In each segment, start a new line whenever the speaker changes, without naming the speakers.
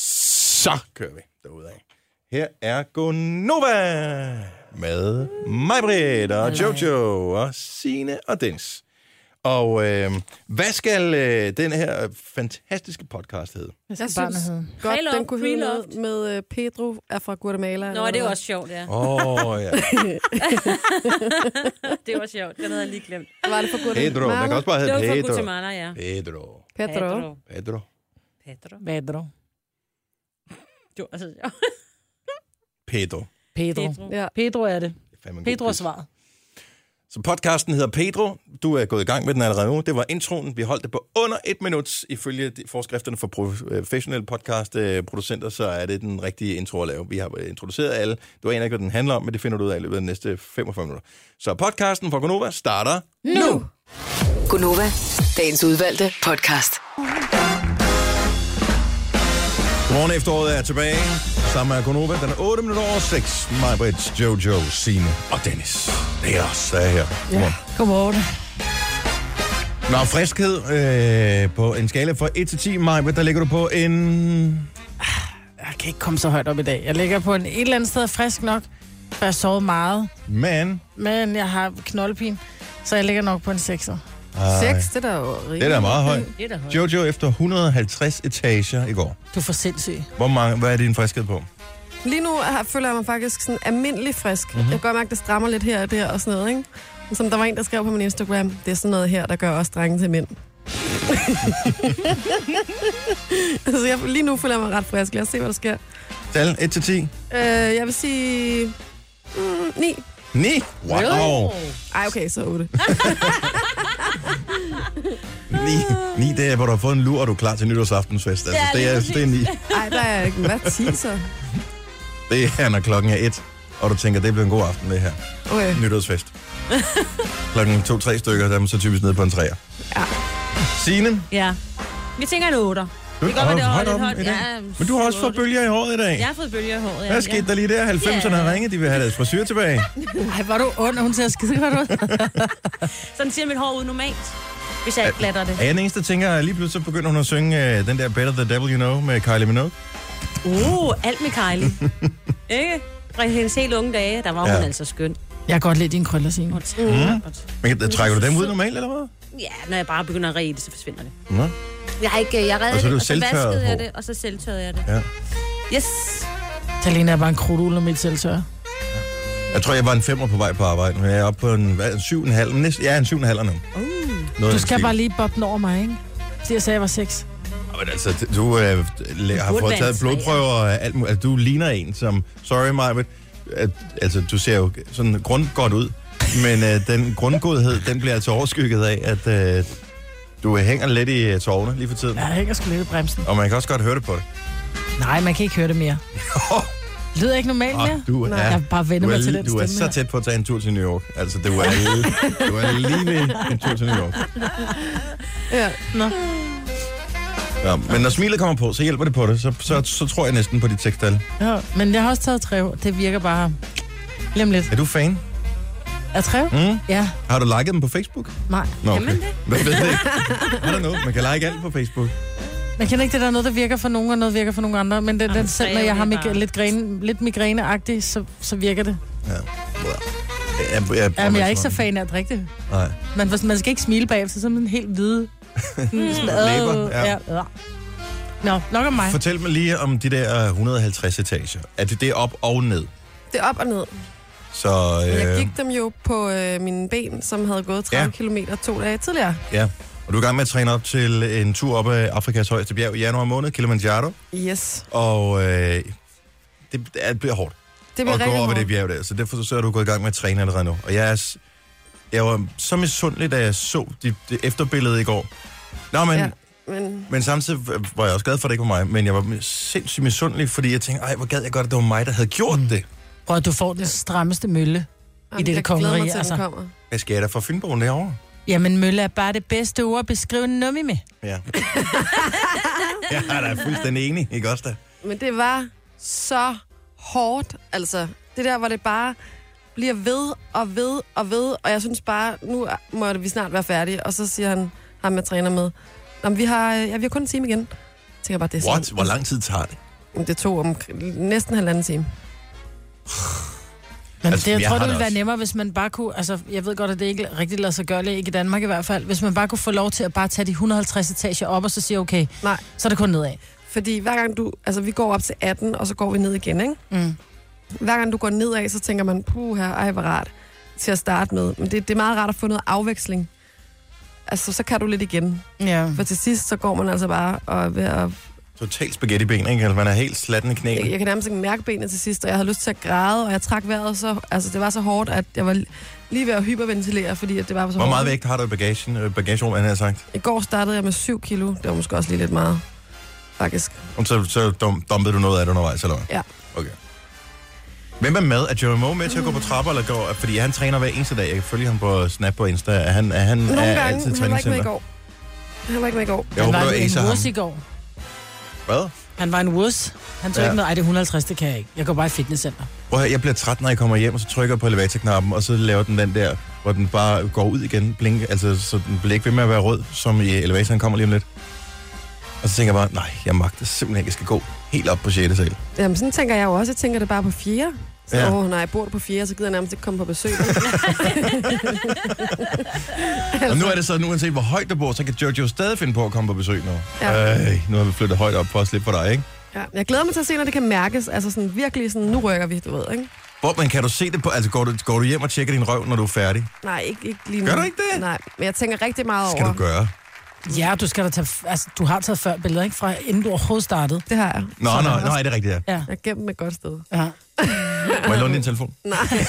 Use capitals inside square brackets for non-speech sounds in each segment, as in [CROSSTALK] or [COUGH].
så kører vi derudad. Her er Gonova med mig, Britt, og Jojo, og Sine og Dens. Og øh, hvad skal øh, den her fantastiske podcast hedde?
Jeg
Jeg
synes barnet
synes
hedde.
godt,
Hello,
den kunne hedde
Preloved.
noget med øh, Pedro er fra Guatemala.
Nå, det er også sjovt, ja.
Åh, oh, ja.
[LAUGHS] Det var sjovt. Den havde jeg lige glemt.
Var det fra Guatemala?
Pedro. Man kan også bare
Det var
hedde
fra
Pedro.
Guatemala, ja.
Pedro.
Pedro.
Pedro.
Pedro.
Pedro.
Det var altså
Pedro.
Pedro.
Pedro.
Ja.
Pedro er det.
Det er fandme en god
Pedro er
quiz.
svaret.
Så podcasten hedder Pedro. Du er gået i gang med den allerede nu. Det var introen. Vi holdt det på under et minut. Ifølge de- forskrifterne for professionelle podcastproducenter, så er det den rigtige intro at lave. Vi har introduceret alle. Du aner ikke, hvad den handler om, men det finder du ud af i løbet af de næste 45 minutter. Så podcasten fra Gonova starter nu.
Gunova, dagens udvalgte podcast.
Godmorgen efteråret er tilbage. Sammen med Konoba, den er 8 minutter over 6. Mig, Brits, Jojo, Signe og Dennis. Det er os, der er her. Godmorgen.
Godmorgen.
Nå, friskhed øh, på en skala fra 1 til 10, Maja, der ligger du på en...
Jeg kan ikke komme så højt op i dag. Jeg ligger på en et eller andet sted frisk nok, for jeg sovede meget,
Men...
men jeg har knoldpin, så jeg ligger nok på en 6'er.
Seks, det er da jo
Det er da meget højt.
Det er da højt.
Jojo efter 150 etager i går.
Du er for sindssyg.
Hvor mange, hvad er din friskhed på?
Lige nu har- føler jeg mig faktisk sådan almindelig frisk.
Mhm.
Mm-hmm. Jeg kan godt mærke, det strammer lidt her og der og sådan noget, ikke? Men Som der var en, der skrev på min Instagram, det er sådan noget her, der gør også drenge til mænd. [LAUGHS] altså, jeg, lige nu føler jeg mig ret frisk. Lad os se, hvad der sker.
Tal 1 til 10.
Øh, jeg vil sige... Mm, 9.
9. Wow. Really?
Ej, okay, så 8.
9, 9 dage, hvor du har fået en lur, og du er klar til nytårsaftensfest. Altså,
Ja,
det, er,
lige
det er 9.
Ej, der er ikke. Hvad 10 så?
Det er, når klokken er 1, og du tænker, det bliver en god aften, det her.
Okay.
[LAUGHS]
Nytårsfest. klokken 2-3 stykker, der er man så typisk nede på en træer.
Ja.
Signe,
Ja. Vi tænker en 8'er.
du
Det kan godt være, det var
højt
lidt
oppe
højt.
i dag.
Ja,
Men du har også fået
otte.
bølger i håret i dag.
Jeg har fået bølger i håret, ja.
Hvad skete der lige der? 90'erne har ringet, de vil have deres frisyr tilbage.
Ej, var du ond, hun ser skide godt ud.
Ja. Sådan ser mit hår ud normalt, hvis jeg ikke glatter det.
Er jeg den eneste, der tænker, at lige pludselig så begynder hun at synge øh, den der Better the Devil You Know med Kylie Minogue?
Uh, alt med
[LAUGHS]
Kylie. Ikke? Fra hendes helt unge dage, der var hun
Ja. Mm.
altså skøn.
[LAUGHS] Jeg kan godt lide dine krøller, Signe.
Hun mm.
Men kan- trækker du dem ud normalt, eller hvad?
Ja, når jeg bare begynder at rede det, så forsvinder det.
Nå.
Jeg, er altså, ikke, øh, jeg redder
Og så er
det,
du
og så
selvtørret
vaskede jeg
hår.
det, og så selvtørrede jeg det.
Ja.
Yes.
Talina er bare en krudul og mit selvtør.
Jeg tror, jeg var en femmer på vej på arbejde, men jeg er oppe på en, hvad, en syv og en halv. Næsten, jeg er en syv og en halv nu.
Uh.
Noget
Du
af
skal
den
bare
stil.
lige boppe den over mig, ikke? Fordi jeg sagde, jeg var 6.
Nå, Men altså, t- du øh, læ- har
burde
fået
være
taget
en træer.
blodprøver og alt muligt. Altså, du ligner en, som... Sorry, Majbet. At, altså, du ser jo sådan grundgodt ud. Men øh, den grundgodhed, den bliver altså overskygget af, at øh, du hænger lidt i øh, tårerne lige for tiden.
Ja, jeg hænger sgu lidt i bremsen.
Og man kan også godt høre det på dig.
Nej, man kan ikke høre det mere. Lyder ikke normalt
Ah,
mere?
du er,
Jeg har bare vendt
du er,
mig til
li-
den
du er
stemme
så
her.
tæt på at tage en tur til New York. Altså, du er,
[LAUGHS]
du er lige ved en tur til New York.
Ja.
Nå.
Ja, men når smilet kommer på, så hjælper det på det. Så, så, så tror jeg næsten på dit tekstal.
Ja, men jeg har også taget træv. Det virker bare... Lige om lidt.
Er du fan?
Er træv?
Mm?
Ja,
Har du liket dem på Facebook?
nej.
Nå,
Kan man det?
Hvem ved det ikke? Er der noget? Man kan like alt på Facebook.
Man kender ikke det, der er noget, der virker for nogen, og noget virker for nogen andre. Men den,
Jamen,
den selv, når
træv,
jeg har
det er
mig-
bare-
lidt, græne, lidt migræneagtig, så, så virker det.
Ja. Jeg, jeg, jeg,
Jamen, jeg er ikke så fan af at drikke det.
Nej.
Man, man skal ikke smile bagefter, så er man helt hvide. Mm, sådan, øh,
Læber, ja.
ja. Nå, nok om mig.
Fortæl mig lige om de der øh, 150 etager. Er det det op og ned?
Det er op og ned.
Så
Men Jeg
øh,
gik dem jo på øh, mine ben, som havde gået 30
Ja.
ja. km to dage tidligere.
ja. Og du er i gang med at træne op til en tur op af Afrikas højeste bjerg i januar måned, Kilimanjaro.
Yes.
Og øh, det, det bliver hårdt
Det
at gå op ad
hårdt.
det bjerg der. Så derfor så er du gået i gang med at træne allerede nu. Og jeg, er, s- jeg var så misundelig, da jeg så det, det efterbillede i går. Nå, men, ja.
Ja. Men
men samtidig v- var jeg også glad for, at det ikke var mig. Men jeg var sindssygt misundelig, fordi jeg tænkte, ej, hvor gad jeg godt, at det var mig, der havde gjort mm. det.
Prøv at du får den strammeste mølle.
jamen,
det
jeg
kongerige,
glæder mig til,
altså.
altså. kommer.
Hvad skal jeg da fra Fynbogen derovre?
Jamen, mølle er bare det bedste ord at beskrive en nummi med.
[LAUGHS]
Ja. jeg er da fuldstændig enig, ikke også da?
Men det var så hårdt, altså. Det der, hvor det bare bliver ved og ved og ved, og jeg synes bare, nu er- må vi snart være færdige. Og så siger han, ham jeg træner med, Nå, men vi har, øh, ja, vi har kun en time igen. Jeg tænker bare, det er
What?
sådan-
Hvor lang tid tager det?
Det tog om næsten halvanden time.
Men
Altså,
altså, det, jeg,
jeg
tror,
har
det
det
ville være
også.
nemmere, hvis man bare kunne... Altså, jeg ved godt, at det ikke rigtig lader sig gøre, ikke i Danmark i hvert fald. Hvis man bare kunne få lov til at bare tage de 150 etager op, og så sige, okay,
Nej,
så er det kun nedad.
fordi hver gang du... Altså, vi går op til 18, og så går vi ned igen, ikke?
Mm.
Hver gang du går nedad, så tænker man, puh her, ej, hvor rart til at starte med. Men det, det er meget rart at få noget afveksling. Altså, så kan du lidt igen.
Ja.
For til sidst, så går man altså bare og, er ved at
Totalt spaghettiben, ikke? Altså, man er helt slatten i
jeg,
knæene.
jeg kan nærmest ikke mærke benet til sidst, og jeg havde lyst til at græde, og jeg trak vejret så... Altså, det var så hårdt, at jeg var li- lige ved at hyperventilere, fordi at det var så
Hvor
hårdt.
meget vægt har du i bagagen, øh, bagagerummet, han har sagt?
I går startede jeg med 7 kilo. Det var måske også lige lidt meget, faktisk.
Og så, så dum, dumpede du noget af det undervejs, eller hvad?
Ja.
Okay. Hvem er med? Er Jerry Moe med til at gå på trapper, eller går... Fordi han træner hver eneste dag. Jeg kan følge ham på Snap på Insta. Er han, er han
Nogle
er
gange,
altid
men han var ikke med i
træningscenter?
går. Han var ikke med i går.
Jeg håber,
han
du
var en
acer ham.
wurs i går.
Hvad?
Han var en wurs. Han tog
Ja.
ja. ikke noget. Ej, det er 150, det kan jeg ikke. Jeg går bare i fitnesscenter.
Prøv at høre, jeg bliver træt, når jeg kommer hjem, og så trykker jeg på elevatorknappen, og så laver den den der, hvor den bare går ud igen, blink, altså så den bliver ikke ved med at være rød, som i elevatoren kommer lige om lidt. Og så tænker jeg bare, nej, jeg magter simpelthen ikke, jeg skal gå helt op på 6. sal.
Jamen, sådan tænker jeg jo også. Jeg tænker det bare på fjerde. Så,
Ja.
ja. åh, nej, bor du på fjerde, så gider jeg nærmest ikke komme på besøg. [LAUGHS]
Og nu er det sådan, uanset hvor højt du bor, så kan Jojo stadig finde på at komme på besøg nu. Ja.
Ja.
Øh, nu har vi flyttet højt op for at slippe for dig, ikke?
ja. Jeg glæder mig til at se, når det kan mærkes. Altså sådan virkelig sådan, nu rykker vi, du ved, ikke?
Hvor, men kan du se det på, altså går du, går du hjem og tjekker din røv, når du er færdig?
Nej, ikke, ikke lige nu.
Gør du ikke det?
Nej, men jeg tænker rigtig meget
Skal
over.
du gøre?
Ja, du skal da tage... Altså, du har taget før billeder, ikke? Fra inden du overhovedet startede.
Det har jeg.
Nå,
Sådan
nej,
også.
nej, det er rigtigt, ja.
Ja.
Jeg har gemt dem et godt sted.
ja.
Må jeg låne din telefon?
Nej. nej,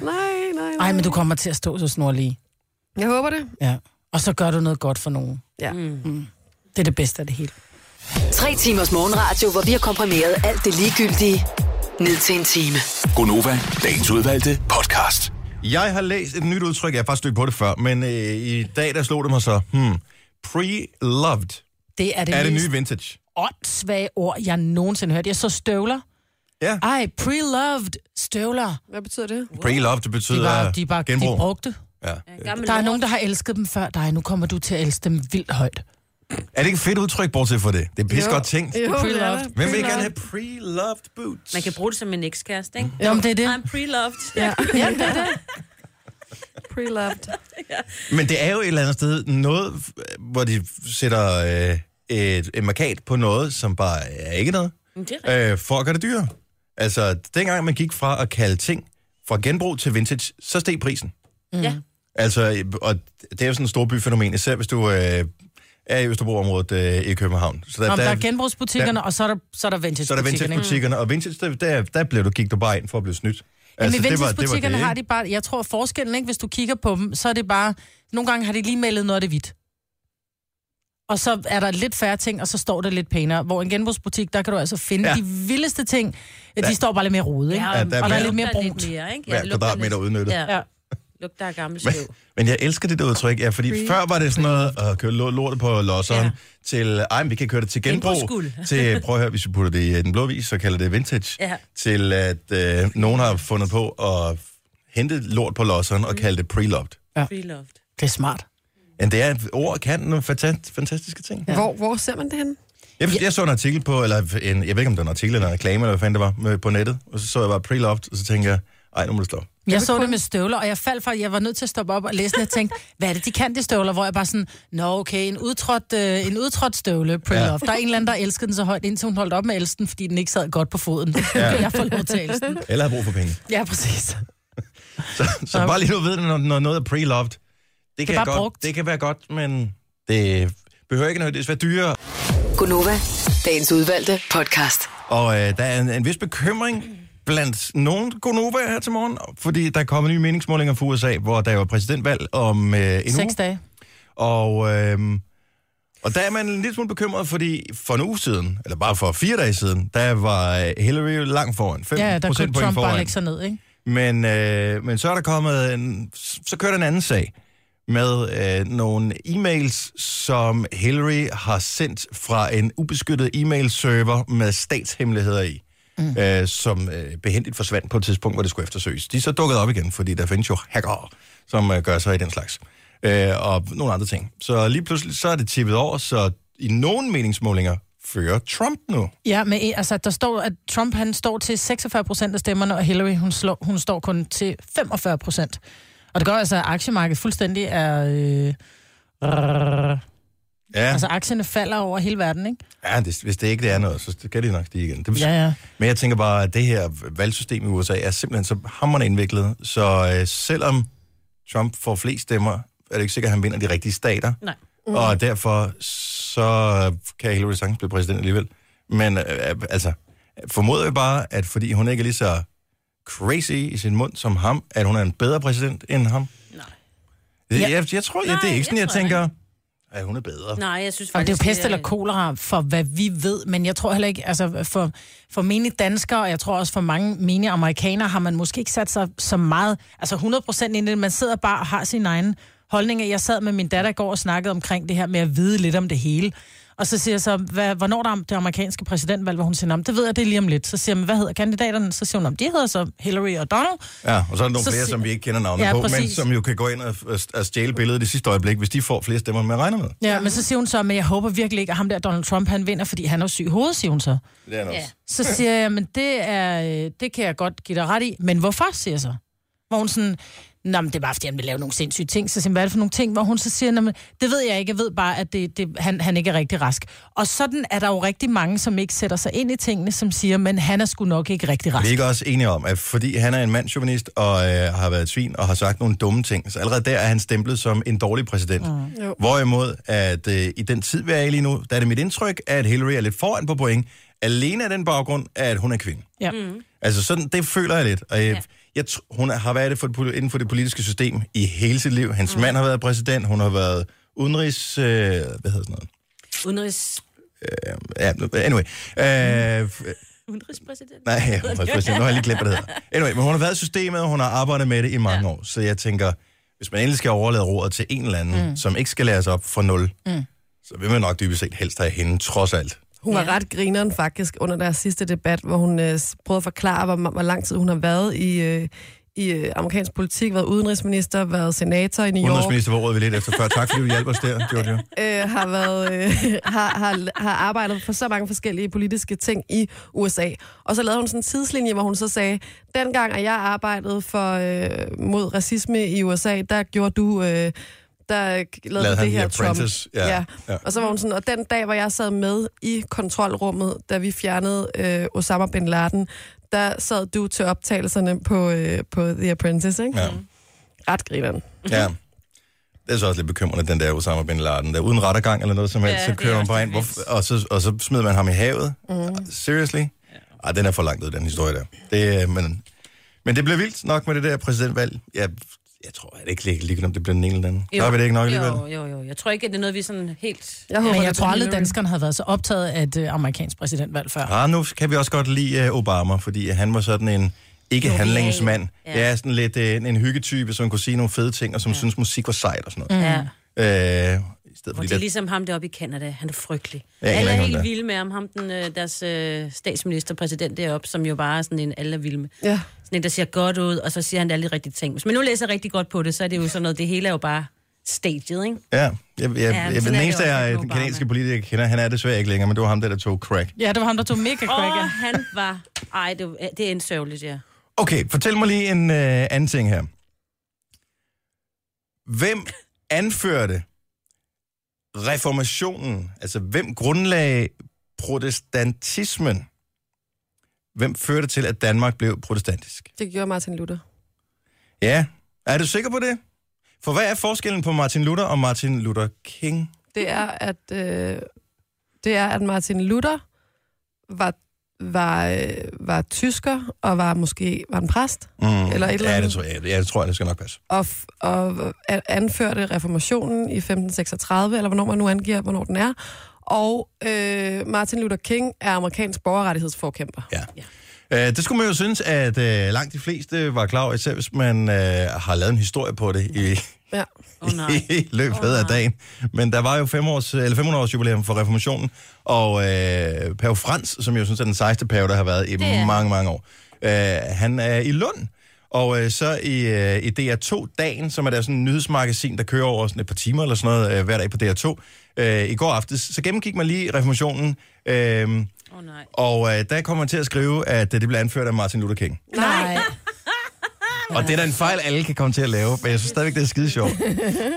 nej, nej.
Ej, men du kommer til at stå så snorlig.
Jeg håber det.
Ja. Og så gør du noget godt for nogen.
Ja.
Det er det bedste af det hele.
Tre timers morgenradio, hvor vi har komprimeret alt det ligegyldige ned til en time.
Gonova, dagens udvalgte podcast.
Jeg har læst et nyt udtryk, jeg har faktisk stødt på det før, men øh, i dag der slog det mig så, hmm, pre-loved
Det er det,
er det
mest
nye vintage.
åndssvage ord, jeg nogensinde hørte. Jeg så støvler.
Ja.
Ej, pre-loved støvler.
Hvad betyder det?
Pre-loved betyder
De var, de var
genbrug.
de brugte.
ja.
Der er nogen, der har elsket dem før dig. Nu kommer du til at elske dem vildt højt.
Er det ikke et fedt udtryk, bortset fra det? Det er pis godt tænkt.
Jo,
Pre-loved.
det er det.
Hvem vil ikke gerne have pre-loved boots?
Man kan bruge det som en ekskæreste, ikke?
Jo, men det er det.
I'm pre-loved.
Ja. ja, det er det. [LAUGHS] Pre-loved.
Men det er jo et eller andet sted noget, f- hvor de sætter øh, et, et markat på noget, som bare er ikke noget,
Men det er rigtigt.
øh, for at gøre det dyrere. Altså, dengang man gik fra at kalde ting fra genbrug til vintage, så steg prisen.
Ja.
Altså, og det er jo sådan et storbyfænomen, især hvis du øh, er i Østerbro-området øh, i København. Så der,
Nå, men der er
der,
genbrugsbutikkerne, og så er der, så er der vintagebutikkerne.
så er der vintagebutikkerne, og vintage, der, der, der blev du, gik du bare ind for at blive snydt.
Altså, Men i
det var-
vintagebutikkerne
det,
har de
ikke?
bare... Jeg tror, forskellen, ikke, hvis du kigger på dem, så er det bare... Nogle gange har de lige malet noget af det hvidt. Og så er der lidt færre ting, og så står det lidt pænere. Hvor en genbrugsbutik, der kan du altså finde
Ja.
ja. de vildeste ting. Ja,
Ja.
de står bare lidt mere rodet, ikke?
Ja,
Ja.
Ja,
og
der er
og der er
mere-
lidt mere brunt.
brunt.
mere, ikke?
Hver
det lugter
kvadratmeter
lidt-
udnyttet.
Ja,
ja.
lugter af gammel
Men,
støv.
men jeg elsker det der udtryk, ja, fordi før var det sådan noget at køre lo- lortet på losseren, ja.
Ja.
til, ej, men vi kan køre det til genbrug,
Genbrugsguld.
[LAUGHS] til, prøv at høre, hvis vi putter det i øh, den blå vis, så kalder det vintage,
Ja.
til at øh, nogen har fundet på at hente lort på losseren
Mm.
og kalde det pre-loved.
Pre-loved.
Det er smart.
Men det er, at ord kan nogle fanta- fantastiske ting.
Hvor, hvor ser man det henne?
Jeg, jeg så en artikel på, eller en, jeg ved ikke, om det var en artikel eller en reklame, eller hvad fanden det var, med, på nettet, og så så jeg bare pre-loved, og så tænkte jeg, ej, nu må det stoppe.
Jeg så det med støvler, og jeg faldt fra, jeg var nødt til at stoppe op og læse det. Jeg tænkte, hvad er det, de kan, de støvler? Hvor jeg bare sådan, nå okay, en udtrådt, øh, en udtrådt støvle, pre
Ja.
ja. Der er en eller anden, der elskede den så højt, indtil hun holdt op med at elske den, fordi den ikke sad godt på [LAUGHS] foden. Ja. Jeg får lov til at elske den.
Eller har brug for penge.
Ja, præcis.
Så, så bare lige nu ved, når, når noget er pre-loved, det kan,
bare
godt,
brugt.
det kan være godt, men det behøver ikke nødvendigvis være dyrere.
Gunova, dagens udvalgte podcast.
Og øh, der er en, en vis bekymring blandt nogle Gonova her til morgen, fordi der er kommet nye meningsmålinger fra USA, hvor der var præsidentvalg om øh, en uge.
Seks dage.
Og, øhm, og der er man en lille smule bekymret, fordi for en uge siden, eller bare for fire dage siden, der var øh, Hillary jo langt foran. 5
Ja, der kunne
procentpoint
Trump bare
foran.
lægge sig ned, ikke?
Men, øh, men så er der kommet en, så kører der en anden sag med øh, nogle e-mails, som Hillary har sendt fra en ubeskyttet e-mail-server med statshemmeligheder i, mm. øh, som øh, behendigt forsvandt på et tidspunkt, hvor det skulle eftersøges. De er så dukket op igen, fordi der findes jo hackere, som øh, gør sig i den slags. Øh, og nogle andre ting. Så lige pludselig så er det tippet over, så i nogle meningsmålinger fører Trump nu.
Ja, men eh, altså, der står, at Trump han står til 46 procent af stemmerne, og Hillary hun, slår, hun står kun til 45 procent. Og det gør altså, at aktiemarkedet fuldstændig er... Øh, rrr,
Ja,
altså, aktierne falder over hele verden, ikke?
ja det, hvis det ikke det er noget, så kan det nok stige igen. Det,
Ja, ja.
Men jeg tænker bare, at det her valgsystem i USA er simpelthen så hammerende indviklet, så øh, selvom Trump får flest stemmer, er det ikke sikkert, at han vinder de rigtige stater.
Nej.
Mm. Og derfor så kan Hillary sagtens blive præsident alligevel. Men øh, øh, altså, formoder jeg bare, at fordi hun ikke er lige så crazy i sin mund som ham, at hun er en bedre præsident end ham.
Nej.
Det,
Ja.
ja. jeg, jeg tror,
Nej,
jeg, det er ikke sådan,
det
jeg
tror jeg
tænker, at hun er bedre.
Nej, jeg synes
Og
faktisk... øh,
det er jo pest eller kolera, for hvad vi ved, men jeg tror heller ikke, altså for, for menige danskere, og jeg tror også for mange menige amerikanere, har man måske ikke sat sig så meget, altså 100% ind i det, man sidder bare og har sin egen holdning. Jeg sad med min datter i går og snakkede omkring det her med at vide lidt om det hele. Og så siger jeg så, hvad, hvornår der er det amerikanske præsidentvalg, hvor hun siger, "Nå, men det ved jeg, det er lige om lidt. Så siger man, hvad hedder kandidaterne? Så siger hun, "Nå, men de hedder så Hillary og Donald.
Ja, og så er der nogle
Så
flere,
si-
som vi ikke kender navnet ja,
Ja,
på, men
præcis.
som jo kan gå ind og, og- og stjæle billedet i det sidste øjeblik, hvis de får flere stemmer, end man regner med.
Ja, men så siger hun så, men jeg håber virkelig ikke, at ham der Donald Trump, han vinder, fordi han er jo syg i hovedet, siger hun så.
Det er
Ja.
Så siger jeg, men det, er, øh, det kan jeg godt give dig ret i. Men hvorfor, siger jeg så? Hvor hun sådan, Nå, men det er bare, fordi han vil lave nogle sindssyge ting. Så siger jeg, hvad er det for nogle ting? Hvor hun så siger, "Nå, men det ved jeg ikke. Jeg ved bare, at det, det, han, han ikke er rigtig rask. Og sådan er der jo rigtig mange, som ikke sætter sig ind i tingene, som siger, men han er sgu nok ikke rigtig
Vi er
rask.
ikke også enige om, at fordi han er en mandsjuvenist og øh, har været et svin og har sagt nogle dumme ting, så allerede der er han stemplet som en dårlig præsident. Mm.
Jo.
Hvorimod, at øh, i den tid, vi er i lige nu, der er det mit indtryk, at Hillary er lidt foran på point, alene af den baggrund, at hun er kvinde.
Ja. Mm.
Altså sådan, det føler jeg lidt. Og jeg, ja. jeg, tr- hun har været det for, det poli- inden for det politiske system i hele sit liv. Hendes mm. mand har været præsident, hun har været udenrigs... Øh, hvad hedder sådan noget?
Udenrigs...
Ja, anyway. Øh,
Udenrigspræsident?
nej, [LAUGHS] jeg var faktisk- nu har jeg lige glemt, hvad det hedder. Anyway, men hun har været i systemet, og hun har arbejdet med det i mange ja. år. Så jeg tænker, hvis man endelig skal overlade roret til en eller anden, mm. som ikke skal læres op fra nul, mm. så vil man nok dybest set helst have hende, trods alt.
Hun var ret grineren faktisk under deres sidste debat, hvor hun øh, s- prøvede at forklare, hvor, hvor lang tid hun har været i, øh, i øh, amerikansk politik, været udenrigsminister, været senator i New York,
Udenrigsminister, hvor råd vi lidt efter før. Tak fordi du hjalp os der, [LAUGHS] Jojo.
øh, har, været, øh, har, har, har arbejdet for så mange forskellige politiske ting i USA. Og så lavede hun sådan en tidslinje, hvor hun så sagde, dengang at jeg arbejdede for, øh, mod racisme i USA, der gjorde du... Øh, der lavede, lavede
han
det
The
her
Apprentice,
Trump.
ja. Ja.
ja. Og så var hun sådan, og den dag, hvor jeg sad med i kontrolrummet, da vi fjernede øh, Osama Bin Laden, der sad du til optagelserne på, øh, på The Apprentice, ikke?
Ja.
Ret grineren.
Ja. Det er så også lidt bekymrende, den der Osama Bin Laden. Der uden rettergang eller noget som helst, ja,
Ja,
så
det
kører
er
man
også
bare
det
ind, Hvorfor, og, så, og så smider man ham i havet. Mm. Seriously? Ja. Ej, den er for langt ud, den historie der. Det, øh, men, men det bliver vildt nok med det der præsidentvalg. Jeg, jeg tror, at det ikke ligger ligegyldigt, om det bliver den ene eller den anden. Så er vi det ikke nok alligevel.
Jo, jo, jo. Jeg tror ikke, at det er noget, vi sådan helt...
Jeg håber,
Men
det
jeg tror
bliver
aldrig,
Hillary.
danskerne havde været så optaget af et øh, amerikansk præsidentvalg før.
Ah, nu kan vi også godt lide øh, Obama, fordi han var sådan en ikke-handlingsmand. Ja.
Ja.
ja, sådan lidt øh, en hyggetype, som kunne sige nogle fede ting, og som ja. synes musik var sejt og sådan noget.
Ja.
Mm. Øh, i stedet for
Og
de
det er
der
ligesom ham deroppe i Kanada. Han er frygtelig.
Jeg aner
alle er
ikke, hvem det er.
helt vilde med ham. Ham, den, øh, deres øh, statsminister, præsident deroppe, som jo bare er sådan en, alle er vilde med.
Ja.
Sådan en, der ser godt ud, og så siger han alle de rigtige ting. Hvis man nu læser rigtig godt på det, så er det jo sådan noget, det hele er jo bare staged, ikke?
Ja, jeg, jeg, jeg, jeg,
sådan
den
er det
eneste
også
af
med
den
Obama.
kanadiske politiker, jeg kender, han er desværre ikke længere, men det var ham der, der tog crack.
Ja, det var ham, der tog mega
Åh,
crack.
oh,
ja.
han var... Ej, det, var- det er en sørgeligt, ja.
Okay, fortæl mig lige en øh, anden ting her. Hvem anførte reformationen? Altså, hvem grundlagde protestantismen? Hvem førte til, at Danmark blev protestantisk?
Det gjorde Martin Luther.
Ja, er du sikker på det? For hvad er forskellen på Martin Luther og Martin Luther King?
det er, at, øh, det er, at Martin Luther var, var, øh, var tysker og var måske var en præst,
Mm.
Eller et eller
ja, det
andet.
tror jeg, ja, det tror jeg, det skal nok passe.
og, f- og a- anførte reformationen i 1536, eller hvornår man nu angiver, hvornår den er. Og øh, Martin Luther King er amerikansk borgerrettighedsforkæmper.
Ja. ja. Øh, det skulle man jo synes, at øh, langt de fleste var klar over, især hvis man øh, har lavet en historie på det i,
Ja.
Åh, nej.
[LAUGHS] i løbet oh, af dagen. Men der var jo fem års, eller 500 års jubilæum for reformationen, og øh, Pave Frans, som jeg synes er den sejeste pave, der har været i
er han.
mange, mange år, øh, han er i Lund. Og øh, så i, øh, i DR2-dagen, som er der sådan en nyhedsmagasin, der kører over sådan et par timer eller sådan noget øh, hver dag på DR2, øh, i går aftes, så gennemgik man lige reformationen, øh,
Åh oh, nej.
og øh, der kom man til at skrive, at øh, det blev anført af Martin Luther King.
Nej.
Og det er da en fejl, alle kan komme til at lave, men jeg synes stadigvæk, det er skide
[LAUGHS]
sjovt.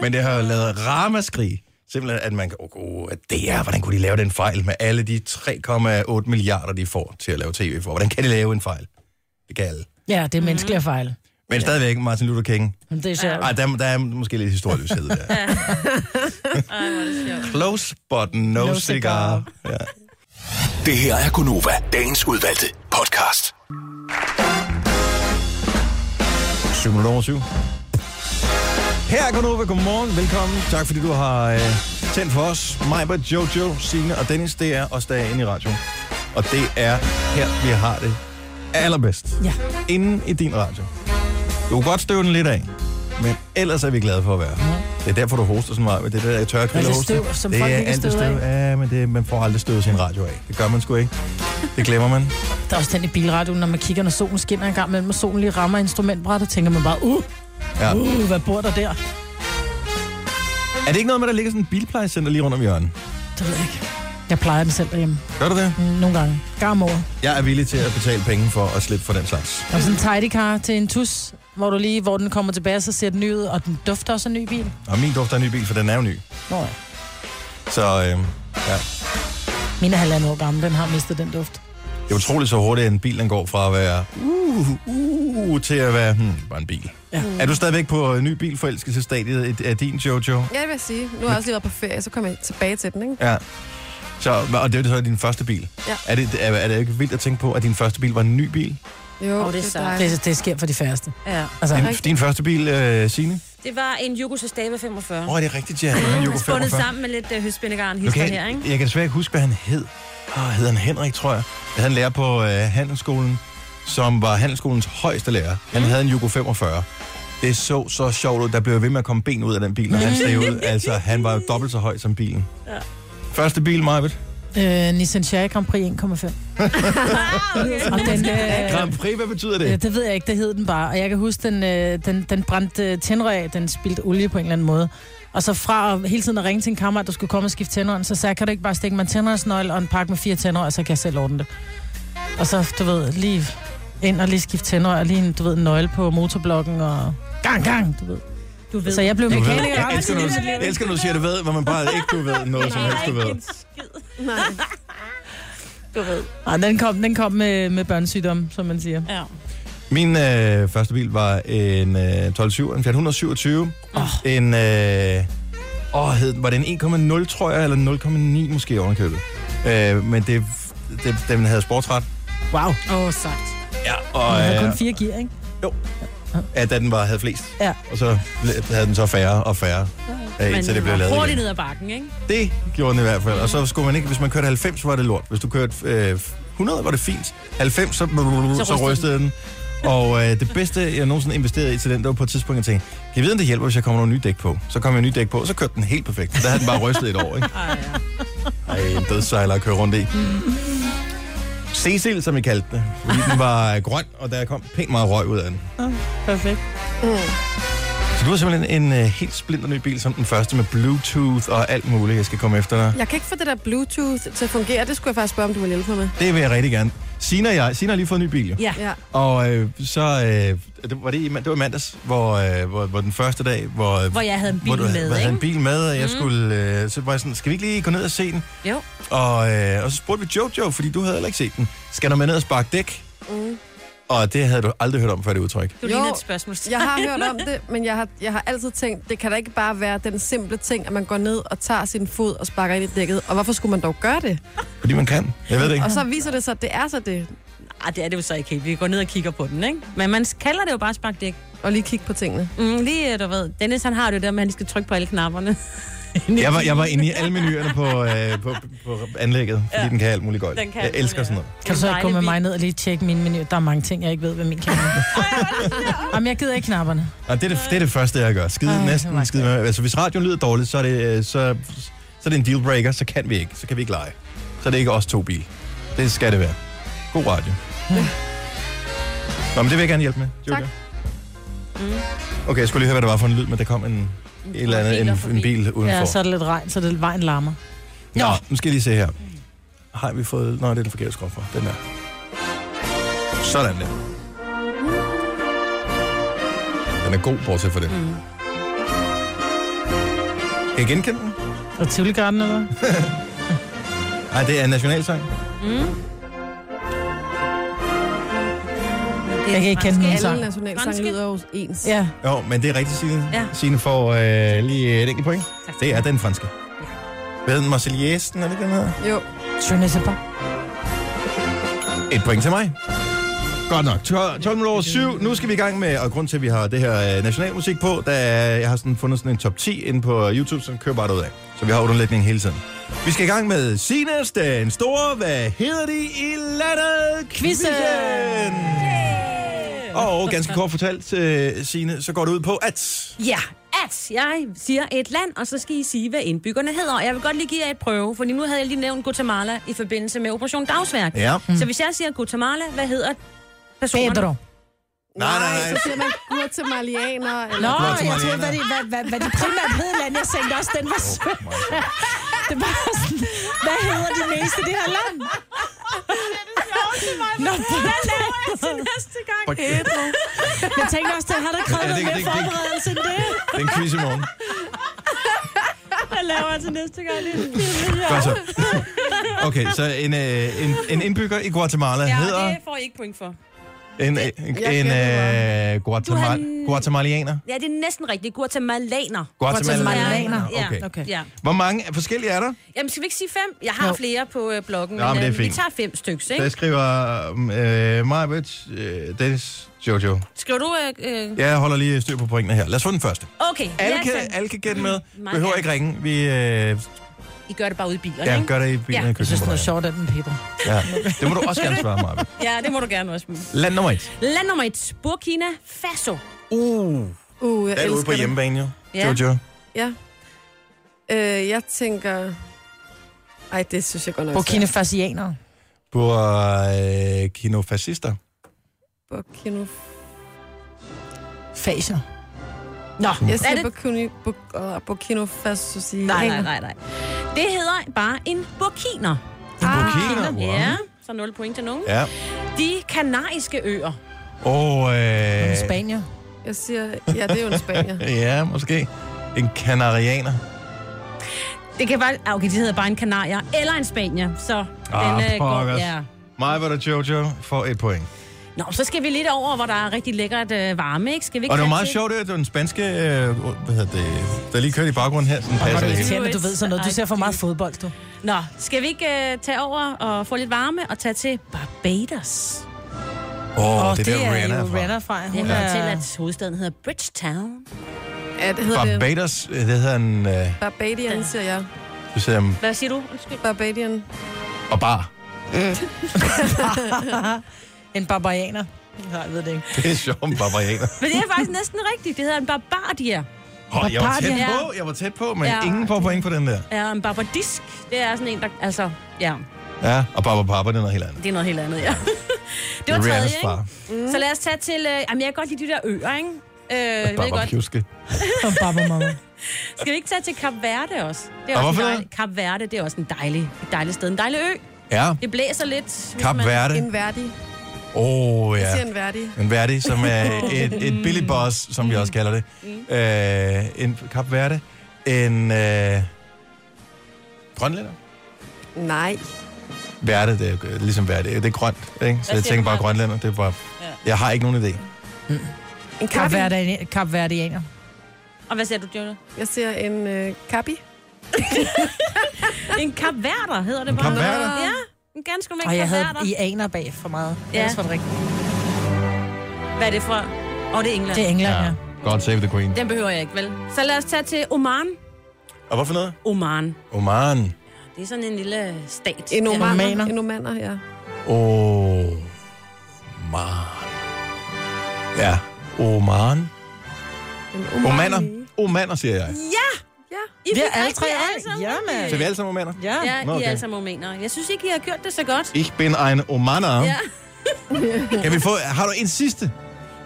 Men det har jo lavet ramaskrig. Simpelthen, at man kan, åh, oh, det er, hvordan kunne de lave den fejl med alle de 3,8 milliarder, de får til at lave tv for? Hvordan kan de lave en fejl? Det kan alle.
Ja, det er menneskelige fejl.
Men stadigvæk Martin Luther King.
Men Det er sjovt.
Ej, der, der er måske lidt historieløshed
[LAUGHS]
der. Close but no,
No
no cigar.
cigar.
Ja.
Det her er Gunova, dagens udvalgte podcast.
7 minutter over 7. Her er Gunova. Godmorgen. Velkommen. Tak fordi du har øh, tændt for os. Majbert, Jojo, Signe og Dennis, det er os, der er inde i radioen. Og det er her, vi har det allerbedst.
Ja.
Inden i din radio. Du kan godt støve den lidt af, men ellers er vi glade for at være. her. Det er derfor, du hoster så meget. men Det er det der tørre
det
hoste.
støv, som
det
folk
er
ikke
alt det
støder
støv. Ja, men det, man får aldrig støvet sin radio af. Det gør man sgu ikke. Det glemmer man.
Der er også den i bilradioen, når man kigger, når solen skinner en gang imellem, og solen lige rammer instrumentbrættet, tænker man bare, uh,
Ja.
uh, hvad bor der der?
Er det ikke noget med, at der ligger sådan et bilplejecenter lige rundt om hjørnet?
Det ved jeg ikke. Jeg plejer den selv derhjemme.
Gør du det?
Mm, Nogle gange. Gang om året.
Jeg er villig til at betale penge for at slippe for den slags.
Der er sådan en tidy car til en tus, hvor du lige, hvor den kommer tilbage, så ser den ny ud, og den dufter også af ny bil.
Og min duft er en ny bil, for den er jo ny.
Nå ja.
Så øh, ja.
Min er halvandet år gammel, den har mistet den duft.
det er utroligt så hurtigt, at en bil den går fra at være uh, uh, til at være hmm, bare en bil. Ja. Er du stadigvæk på øh, ny bilforelskelsesstadiet af din, Jojo?
Ja, det vil jeg sige. Nu har jeg også lige været på ferie, så kommer jeg tilbage til den, ikke?
Ja. Så, og det er jo så din første bil.
Ja.
Er, det, er, er det ikke vildt at tænke på, at din første bil var en ny bil?
Jo,
Åh, det er sejt.
dejligt.
Det, det sker for de færreste.
Ja.
Altså,
Din,
Rigtig.
din første bil, øh, Signe?
Det var en Jugoslavia 45.
Åh, oh, det er rigtigt, ja. Mm,
Den er spundet sammen med lidt uh, høstbindegarn hister
Okay,
her, ikke?
jeg kan desværre ikke huske, hvad han hed. Oh, hed han Henrik, tror jeg. Jeg havde en lærer på øh, handelsskolen, som var handelsskolens højeste lærer. Han havde en Jugo 45. Det så så sjovt ud. Der blev ved med at komme ben ud af den bil, når han steg ud. Altså, han var jo dobbelt så høj som bilen. Ja. Første bil, Marvitt.
øh, Nissan Sherry Grand Prix 1,5. Og [LAUGHS] den, øh,
Grand Prix, hvad betyder
Ja,
det?
det ved jeg ikke, det hed den bare. Og jeg kan huske, den, øh, den, den brændte øh, tænder af, den spildte olie på en eller anden måde. Og så fra at hele tiden at ringe til en kammerat, der skulle komme og skifte tænderen, så sagde jeg, kan du ikke bare stikke mig en tændersnøgle og en pakke med fire tænder, og så kan jeg selv ordne det. Og så, du ved, lige ind og lige skifte tænder, og lige en, du ved, en nøgle på motorblokken, og gang, gang, du ved. Du ved. Så jeg blev
Du ved,
mekaniker.
jeg elsker, når du, jeg elsker, når du siger, du ved, hvor man bare ikke du ved noget som helst, du ved.
Nej.
Nej, den kom, den kom med, med børnesygdom, som man siger.
Ja.
Min øh, første bil var en øh, 12-7, en 427. Oh. En, øh, åh, hed, den- var det en 1,0, tror jeg, eller 0,9 måske ovenkøbet. Øh, men det, det, den havde sportsret.
Wow.
Åh, oh, sagt.
Ja,
Og
og
jeg havde
øh,
kun fire gear, ikke?
at da den var, havde flest.
Ja.
Og så ble- havde den så færre og færre, øh,
Men
indtil det blev lavet igen.
hurtigt ned ad bakken, ikke?
Det gjorde den i hvert fald. Og så skulle man ikke, hvis man kørte 90, var det lort. Hvis du kørte øh, 100, var det fint. 90, så, så, så rystede den. Og øh, det bedste, jeg nogensinde investerede i til den, det var på et tidspunkt, jeg tænkte, kan jeg vide, om det hjælper, hvis jeg kommer nogle nye dæk på? Så kom jeg nye dæk på, og så kørte den helt perfekt. Så der havde den bare rystet et år, ikke?
Ej, ja.
Ej, en dødsejler at køre rundt i. Cecil, som vi kaldte den, fordi den var øh, grøn, og der kom pænt meget røg ud af den.
Perfekt.
Mm.
Så du har simpelthen en øh, helt splinter ny bil, som den første med Bluetooth og alt muligt, jeg skal komme efter dig.
Jeg kan ikke få det der Bluetooth til at fungere. Det skulle jeg faktisk spørge, om du vil hjælpe mig med.
Det vil jeg rigtig gerne. Sina og jeg, Sina har lige fået en ny bil, jo.
ja.
Ja.
Og øh, så øh, det, var det, i, det var i mandags, hvor, øh, hvor, hvor den første dag, hvor, øh,
Hvor jeg havde en bil
hvor du,
med,
hvor jeg havde en
ikke? Mhm.
bil med, og jeg mm. skulle, øh, så var jeg sådan, skal vi ikke lige gå ned og se den?
Jo.
Og, øh, og så spurgte vi Jojo, fordi du havde heller ikke set den, skal du med ned og sparke dæk? Mm. Og det havde du aldrig hørt om før det udtryk.
Jo.
Du ligner et spørgsmål.
Jeg har hørt om det, men jeg har, jeg har altid tænkt, det kan da ikke bare være den simple ting, at man går ned og tager sin fod og sparker ind i dækket. Og hvorfor skulle man dog gøre det?
Fordi man kan. Jeg ved det ikke.
Og så viser det sig, at det er så det.
Ej, det er det jo så ikke helt. Vi går ned og kigger på den, ikke? Men man kalder det jo bare sparkdæk.
Og lige kigge på tingene.
Mm, lige, øh, du ved. Dennis, han har det jo der med, at han skal trykke på alle knapperne.
Jeg var, jeg var inde i alle menuerne på, øh, på, på anlægget, fordi ja. den kan alt muligt godt.
Den kan
jeg
alt
elsker
muligt,
sådan noget.
Kan du så ikke gå
Dejlig
med
bil.
mig ned og lige tjekke min menu? Der er mange ting, jeg ikke ved, hvad min kan. [LAUGHS] Jamen, jeg gider ikke knapperne.
Og det er det, det er det første, jeg gør. Skide,
Ej,
Ej,
det var
næsten
ikke
skide med. Altså, hvis radioen lyder dårligt, så er det, øh, så, så er det en dealbreaker, så kan vi ikke. Så kan vi ikke lege. Så er det ikke os to bil. Det skal det være. God radio. Nå, men det vil jeg gerne hjælpe med. Julia. Mm.
Tak.
Okay, jeg skulle lige høre, hvad det var for en lyd, men der kom en, en, eller andet,
biler
en,
forbi.
en bil udenfor.
Ja, så er det lidt regn, så det vejen larmer.
Nå, nu skal jeg lige se her. Har vi fået... Nej, det er den forkerte skruer for. Den der. Sådan der. Den er god, bortset for det. Mm. Kan I genkende den?
Og Tivoli Garden, eller hvad?
Nej, det er en nationalsang.
Jeg kan ikke kende den
Alle
sang.
nationalsange
Franske.
lyder jo ens.
Ja,
Jo, men det er rigtigt, Signe. Ja.
Ja.
Signe får øh, lige et enkelt point.
Tak.
Det er den franske. Hvad hedder den? Marseillaise, den er det, den hedder?
Jo.
Trinity
Et point til mig. Godt nok. 12, 12 minutter over 7. Nu skal vi i gang med, og grund til, at vi har det her øh, nationalmusik på, der er, jeg har sådan fundet sådan en top 10 inde på øh, YouTube, som kører bare ud af. Så vi har underlægning hele tiden. Vi skal i gang med Sines, den store, hvad hedder de i landet? Quizzen! Og ganske kort fortalt, øh, Signe, så går det ud på, at...
Ja, at jeg siger et land, og så skal I sige, hvad indbyggerne hedder. Og jeg vil godt lige give jer et prøve, for nu havde jeg lige nævnt Guatemala i forbindelse med Operation Dagsværk. Mm.
Ja.
Så hvis jeg siger Guatemala, hvad hedder personerne?
Pedro.
Nej, nej,
Så
nej.
siger man guatemalianer.
Nå,
Eller...
jeg troede, hvad de, hvad, hvad, hvad de primært hed land. Jeg tænkte også, den var sød. [LAUGHS] Det var sådan, hvad hedder de meste i det her land? Nå, hvad laver jeg til næste gang?
Fuck.
Jeg tænkte også, det har der krævet
Ja, det-
noget mere
det- det-
forberedelse end det.
Det er en quiz i morgen.
Hvad laver [LAUGHS] jeg til næste gang? Det er-
Godt så. Okay, så en, øh, en, en indbygger i Guatemala
Ja,
hedder...
det får I ikke point for.
En, øh, en,
Jeg
en
gætter
øh, Guatemal guatemalianer?
Ja, det er næsten rigtigt. Guatemalaner.
Guatemalaner.
Ja,
Okay.
Okay.
Ja.
Hvor mange forskellige er der?
Jamen, skal vi ikke sige fem? Jeg har
Jo.
flere på øh, bloggen,
Nå, men det er
øh, vi
fint.
tager fem stykker,
Der
ikke?
skriver øh, Majbert, øh, Dennis, Jojo.
Skriver du... Øh, øh...
Jeg holder lige styr på pointene her. Lad os få den første.
Okay,
Alle
ja,
kan,
tak.
alle kan gætte med.
Mig
Behøver
gerne.
ikke ringe. Vi øh,
I gør det bare ude i bilerne,
ja,
ikke?
gør det i bilen.
Ja.
i
Jeg
køkkenet,
synes, det
hvor
er sjovt, at den Pedro.
der er. Ja. Det må du også gerne svare, Majbert.
Ja, det må du gerne også.
Land nummer et.
Land nummer et. Burkina Faso.
Uh,
Uh, jeg
der er ude
elsker
på
det.
hjemmebane, jo.
Ja.
Jojo.
Ja. Øh, jeg tænker... Ej, det synes jeg godt nok... er
Burkina Fasianer.
Burkino fascister.
svært. Burkina...
Faser.
Nå,
Jeg
er
siger
det?
Burkina... Bur- åh, Burkina Faso siger...
Nej, nej, nej, nej. Det hedder bare en burkiner.
En burkiner. Wow.
Ja, så 0 point til nogen.
Ja.
De kanariske øer.
Og... Øh,
Spanier.
Jeg siger... Ja, det er jo en spanier.
ja, måske. En kanarianer.
Det kan bare... ah, Okay, de hedder bare en kanarier eller en spanier, så
Ah,
den øh, går...
pokkers.
Ja.
Mig var der Jojo for et point.
Nå, så skal vi lidt over, hvor der er rigtig lækkert øh, varme, ikke? Skal vi ikke
Og det var
tage
meget
til-
sjovt, det, at det var den spanske, øh, hvad hedder det, der lige kørte i baggrunden her, sådan
Hvor er
passer
det
det.
irriterende, du ved sådan noget. Du ser for meget fodbold, du.
Nå, skal vi ikke øh, tage over og få lidt varme og tage til Barbados?
Åh,
Og
det, det der Rihanna
er
er
jo
fra.
Rihanna fra.
Jeg
Hun
ja.
er...
til, at hovedstaden hedder Bridgetown.
Ja, det hedder det.
Barbados, øh, det hedder en, øh,
Barbadian, siger jeg.
du siger, um,
Hvad siger du? Undskyld.
Barbadian.
og bar.
En barbarianer. Nej, jeg ved det
[LAUGHS]
ikke.
Det er sjovt, med barbarianer.
Men det er faktisk næsten rigtigt. Det hedder en barbardier.
Oh, jeg var tæt
Barbardia.
på, jeg var tæt på, men
Ja.
ingen får point på den der.
Ja, en barbardisk. Det er sådan en, der... Altså, ja,
Ja, og Barbara Papa, det er noget helt andet.
det er noget helt andet, ja. [LAUGHS] det
Det
var
er
tredje,
Rihannas
ikke?
far.
Så lad os tage til... Øh, jamen, jeg kan godt lide de der øer, ikke? Øh, jeg ved
Barbara
godt.
Pjuske.
Og barbarmamma.
Skal vi ikke tage til Kap Verde også? Det
Og
er
hvorfor
også
det?
en dejlig, Kap Verde, det er også en dejlig, et dejligt sted. En dejlig ø.
Ja,
Det blæser lidt. hvis
Kap
man-
Verde.
En værdig.
Åh, oh,
Jeg
ja.
siger en værdig.
En værdig, som
[LAUGHS]
er et,
Mm.
et billig boss, som vi også kalder det. Øh, en Kap Verde. En øh, grønlænder.
Nej.
Værte, det er jo ligesom værte. Det er grønt, ikke? Så jeg
siger
tænker
du,
bare
Maja?
grønlænder. Det er bare... Jeg har ikke nogen idé.
En kapi.
Kapverdianer. Kapverdianer.
Og hvad siger du, Jonah?
Jeg siger en øh, kapi.
En kapverder hedder det
En
bare.
kapverder?
Ja, en ganske normal
Og jeg havde
kapverder.
i aner bag for meget.
Ja.
Ja. Ellers var det rigtigt.
Hvad er det fra? Åh, oh, det er England.
Det er England, ja.
God save the queen.
Den behøver jeg ikke, vel? Så lad os tage til Oman.
Og hvorfor noget?
Oman.
Oman.
Det er sådan en lille stat.
En
omaner.
omaner. En omaner, ja.
Oman. Ja. Oman.
En
Omaner. Omaner, siger jeg.
Ja!
Ja.
I
Vi er
fik
alle
rigtig
tre
alle
ret.
sammen.
Jamen. øh,
Så er vi alle sammen omaner?
Ja.
Ja,
Nå,
I
okay.
er alle sammen omaner. Jeg synes ikke, I har gjort det så godt.
Ich bin ein Omaner.
Ja.
Kan vi få... Har du en sidste?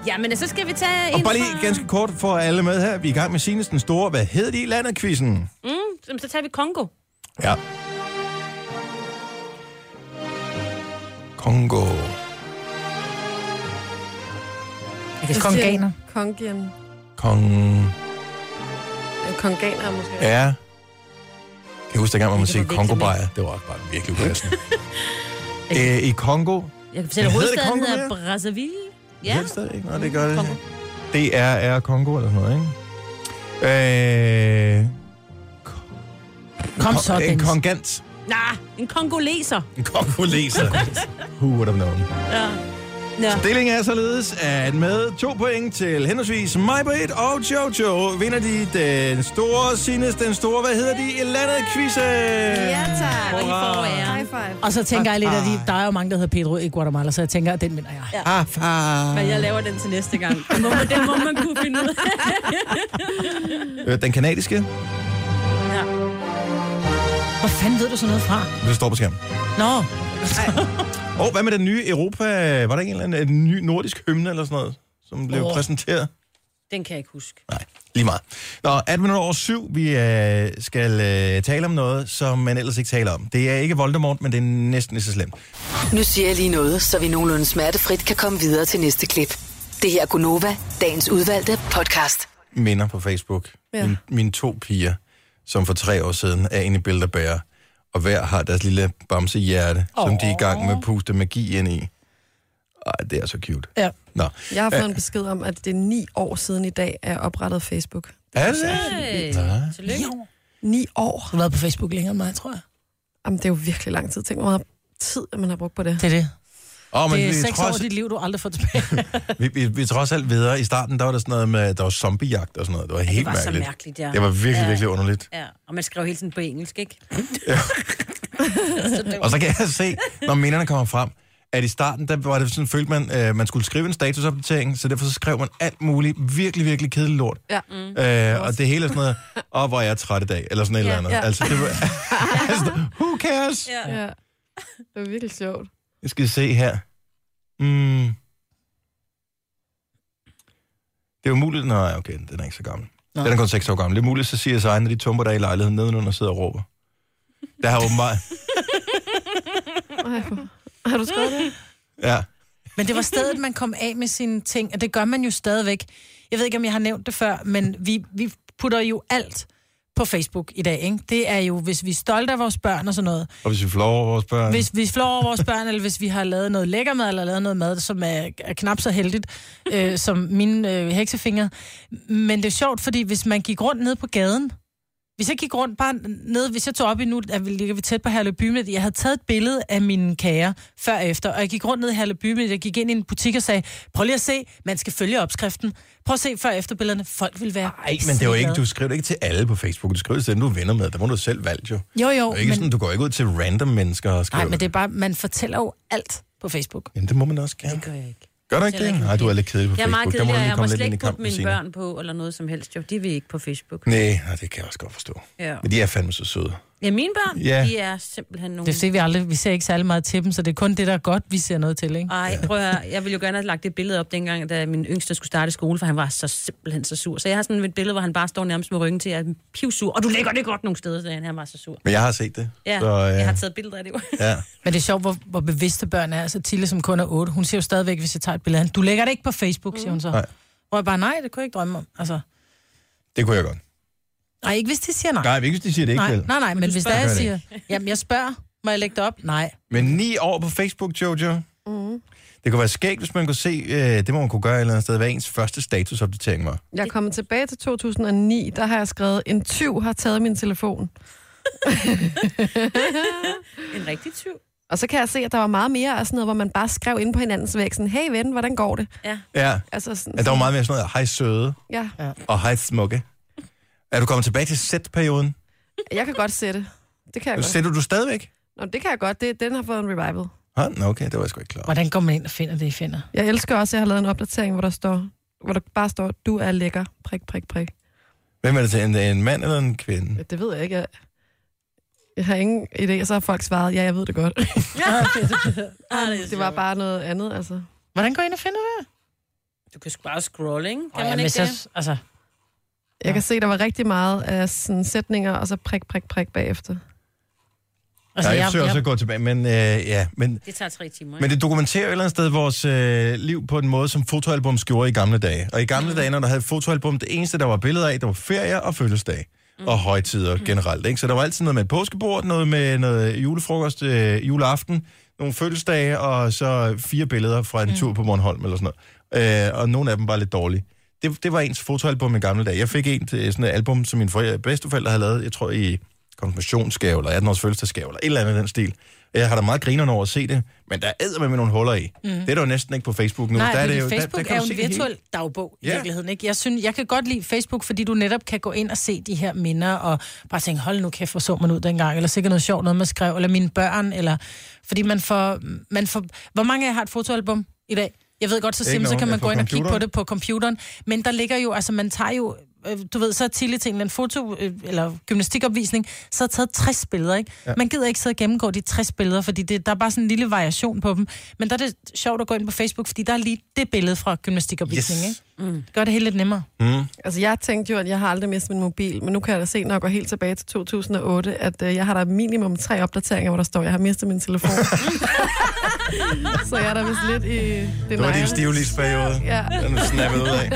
Jamen, så skal vi tage
Og
en
bare lige
fra-
ganske kort for alle med her. Vi er i gang med Sines den store, hvad hedder de i landet quizzen?
Mm, jamen, så tager vi Kongo.
Ja. Kongo.
Jeg kan konganer.
Kongian.
Kong...
Konganer måske. Ja.
Ja. Jeg kan huske, dengang man måtte sige
kan forveksle
kongo
med-
-bajer. Det var bare virkelig upassende. Æ, I Kongo...
Jeg kan fortælle, at
Hedder det
hovedstaden
Congo
hedder
mere?
Brazzaville.
Ja.
Ja.
Helst, ikke? Nå, det gør det.
Kongo.
DRR Kongo eller sådan noget, ikke? Øh,
Kom så,
en
Dennis.
kongant.
Nej, en kongoleser.
[LAUGHS] En kongoleser. Who would have known?
Ja. Nå.
Stillingen er således, at med to point til henholdsvis Majbrit og Jojo vinder de den store Sines, den store, hvad hedder de, i landet quizzen.
Ja, tak.
Og I får æren.
High five.
Og så tænker jeg lidt, at
Ah.
de, der er jo mange, der hedder Pedro i Guatemala, så jeg tænker, at den vinder jeg. Ja.
Ah, far.
Men jeg laver den til næste gang. Den må, den må man kunne finde ud af.
Øh, Den kanadiske,
Ja.
Hvor fanden ved du sådan noget fra?
det står på skærmen.
Nå,
Og hvad med den nye Europa? Var der ikke en eller anden en ny nordisk hymne eller sådan noget, som blev
Åh.
præsenteret?
Den kan jeg ikke huske.
Nej, lige meget. Nå, 18 minutter over syv, vi øh, skal øh, tale om noget, som man ellers ikke taler om. Det er ikke Voldemort, men det er næsten lige så slemt.
Nu siger jeg lige noget, så vi nogenlunde smertefrit kan komme videre til næste klip. Det her er Gunova, dagens udvalgte podcast.
minder på Facebook. Ja.
Ja.
Min, mine to piger, som for tre år siden er inde i bilderbærer, og hver har deres lille bamsehjerte, oh. som de er i gang med at puste magi ind i. Ej, det er så cute.
ja.
Nå.
Jeg har fået en besked om, at det er ni år siden i dag, at jeg oprettede Facebook.
Er det?
Hey.
Ja.
Tillykke.
Ni år?
Du har været på Facebook længere end mig, tror jeg.
Jamen, det er jo virkelig lang tid. Tænk, hvor meget tid man har brugt på det.
Det er det.
Åh, men
det er
vi, er
seks år af
trods,
dit liv, du aldrig får tilbage.
vi, vi, vi er trods alt videre. I starten, der var der sådan noget med, der var zombiejagt og sådan noget. Det var helt
Det var så
mærkeligt.
mærkeligt, ja.
Det var virkelig,
Ja.
virkelig underligt.
Ja, og man skrev hele tiden på engelsk, ikke? [LAUGHS]
Og så kan jeg se, når minderne kommer frem, at i starten, der var det sådan, følte man, øh, man skulle skrive en statusopdatering, så derfor så skrev man alt muligt virkelig, virkelig kedeligt lort.
Ja.
Øh, og det hele er sådan noget, og hvor er jeg træt i dag, eller sådan et eller
Ja.
andet.
Ja.
Altså, det var, [LAUGHS] altså, who cares?
Ja.
Ja. Det var virkelig sjovt.
Jeg skal se her. Mm. Det er umuligt. Nej, okay, den er ikke så gammel. Nej. Den er kun 6 år gammel. Det er muligt, så siger sig, når de tumper der i lejligheden nedenunder og sidder og råber. Der har åbenbart...
Ej, hvor- har du skrevet det?
Ja.
Men det var stedet, man kom af med sine ting, og det gør man jo stadigvæk. Jeg ved ikke, om jeg har nævnt det før, men vi, vi putter jo alt på Facebook i dag, ikke? Det er jo, hvis vi er stolte af vores børn og sådan noget.
Og hvis vi flår over vores børn...
Hvis vi flår over vores børn, eller hvis vi har lavet noget lækker mad, eller lavet noget mad, som er, er knap så heldigt, øh, som mine øh, heksefinger. Men det er sjovt, fordi hvis man gik rundt ned på gaden, hvis jeg gik rundt bare ned, hvis jeg tog op i nu, at vi ligger vi tæt på Herleby Midt, jeg havde taget et billede af mine kager før og efter, og jeg gik rundt ned i Herleby Midt, jeg gik ind i en butik og sagde, prøv lige at se, man skal følge opskriften. Prøv at se før og efter billederne. Folk vil være
Ej, men det er jo ikke, du skriver det ikke til alle på Facebook. Du skriver det til dem, du er venner med. Der må du selv valge jo. Det
Jo, jo,
er ikke men...
men,
sådan, du går ikke ud til random mennesker og skriver
nej, men det er bare, man fortæller jo alt på Facebook.
Jamen, det må man også gerne.
gør jeg ikke.
Gør du ikke det? Nej, du er lidt kedelig på
Jeg er
Facebook.
meget
Der
kedelig, og
lige
jeg må
komme lidt
slet
ind i
ikke putte
kampen,
mine
Signe.
børn på, eller noget som helst. Jo, de vil ikke på Facebook.
Nej, nej, det kan jeg også godt forstå.
Ja.
Men de er fandme så søde.
Ja, mine børn,
Ja.
de er simpelthen nogle...
Det er fordi, vi, aldrig, vi ser ikke særlig meget til dem, så det er kun det, der er godt, vi ser noget til, ikke?
Ej, prøv at høre. Jeg ville jo gerne have lagt det billede op dengang, da min yngste skulle starte i skole, for han var så simpelthen så sur. Så jeg har sådan et billede, hvor han bare står nærmest med ryggen til, at jeg er pivsur. Og du lægger det godt nogle steder, sagde han. Han var så sur.
Men jeg har set det.
Ja,
så, øh,
jeg har taget billeder af det.
ja.
Men det er sjovt, hvor, hvor bevidste børn er. Altså Tille, som kun er 8, hun siger jo stadigvæk, hvis jeg tager et billede af hende, du lægger det ikke på Facebook, siger hun så.
Nej.
Hvor jeg bare, nej, det kunne jeg ikke drømme om. Altså,
Det kunne jeg godt.
nej, ikke hvis de siger nej.
Nej, vi ikke, de siger det ikke,
nej,
vel?
nej, nej, men hvis der
spørger.
jeg
Gør
siger,
[LAUGHS]
jamen jeg spørger, må jeg lægge det op? Nej.
Men ni år på Facebook, Jojo. Mm.
Mm-hmm.
Det kunne være skægt, hvis man kunne se, øh, det må man kunne gøre et eller andet sted, hvad ens første statusopdatering var.
Jeg er kommet tilbage til 2009, der har jeg skrevet, en tyv har taget min telefon.
[LAUGHS] En rigtig tyv.
Og så kan jeg se, at der var meget mere af sådan noget, hvor man bare skrev ind på hinandens væg, sådan, hey ven, hvordan går det?
Ja.
Ja,
Altså sådan,
at der var meget mere sådan noget, hej søde
ja.
og hej smukke. Er du kommet tilbage til sætperioden?
Jeg kan godt sætte. Det kan jeg godt.
Sætter du stadigvæk?
Nå, det kan jeg godt. Det, den har fået en revival.
Ah, nå, okay, det var jeg sgu ikke klar. over.
Hvordan går man ind og finder det, I finder?
Jeg elsker også, at jeg har lavet en opdatering, hvor der står, hvor der bare står, du er lækker, prik, prik, prik.
Hvem er det til? En, en mand eller en kvinde?
Ja, Det ved jeg ikke. Jeg, jeg har ingen idé, og så har folk svaret, ja, jeg ved [LAUGHS] det godt.
[LAUGHS] Ah, det, er
det var bare noget andet, altså.
Hvordan går I ind og finder det?
Du kan sgu bare scrolle, ikke? Kan
Ej,
man
men
ikke det?
så, altså,
Jeg kan se, der var rigtig meget af sådan sætninger, og så prik, prik, prik bagefter.
Altså,
altså
ja, jeg
jeg,
forsøger også at gå tilbage, men øh, ja, men...
Det tager tre timer, ikke? [LAUGHS]
Men det dokumenterer jo et eller andet sted vores øh, liv på en måde, som fotoalbums gjorde i gamle dage. Og i
Mm.
gamle dage, når der havde et fotoalbum, det eneste, der var billeder af, det var ferier og fødselsdag.
Mm.
Og højtider generelt, ikke? Så der var altid noget med et påskebord, noget med noget julefrokost, øh, juleaften, nogle fødselsdage, og så fire billeder fra
Mm.
en tur på Bornholm eller sådan noget. Øh, og nogle af dem var lidt dårlige. Det, det var ens fotoalbum i gamle dage. Jeg fik en til sådan et album, som mine forældre, bedsteforældre havde lavet, jeg tror i konfirmationsgave, eller 18 års fødselsdagsgave, eller et eller andet i den stil. Jeg har da meget griner over at se det, men der er med nogle huller i. Mm. Det er der jo næsten ikke på Facebook nu.
nej,
der
der
er det jo,
Facebook
kan
er
du
jo en
se det hele.
virtuel dagbog i
Ja.
virkeligheden, ikke? Jeg, synes, jeg kan godt lide Facebook, fordi du netop kan gå ind og se de her minder, og bare tænke, hold nu kæft, hvor så man ud dengang, eller sikkert noget sjovt, noget man skrev, eller mine børn, eller... Fordi man får... Man får hvor mange af jer har et fotoalbum i dag? Jeg ved godt, så, simpelthen, så
nogen.
kan man
Ja, på
gå ind og kigge på
computeren.
det på computeren, men der ligger jo, altså man tager jo øh, du ved, så er Tilly til en eller anden foto- øh, eller gymnastikopvisning, så har jeg taget 60 billeder, ikke? Ja. Man gider ikke sidde og gennemgå de 60 billeder, fordi det, der er bare sådan en lille variation på dem. Men der er det sjovt at gå ind på Facebook, fordi der er lige det billede fra gymnastikopvisningen,
Yes.
yes. ikke? Mm. Det gør det hele lidt nemmere.
Altså, jeg tænkte jo, at jeg har aldrig mistet min mobil, men nu kan jeg da se, når jeg går helt tilbage til 2008, at øh, jeg har der minimum tre opdateringer, hvor der står, at jeg har mistet min [LAUGHS] telefon. så jeg er da vist lidt i... Det
Det var din stivlivsperiode.
Ja.
Den er snappet ud af.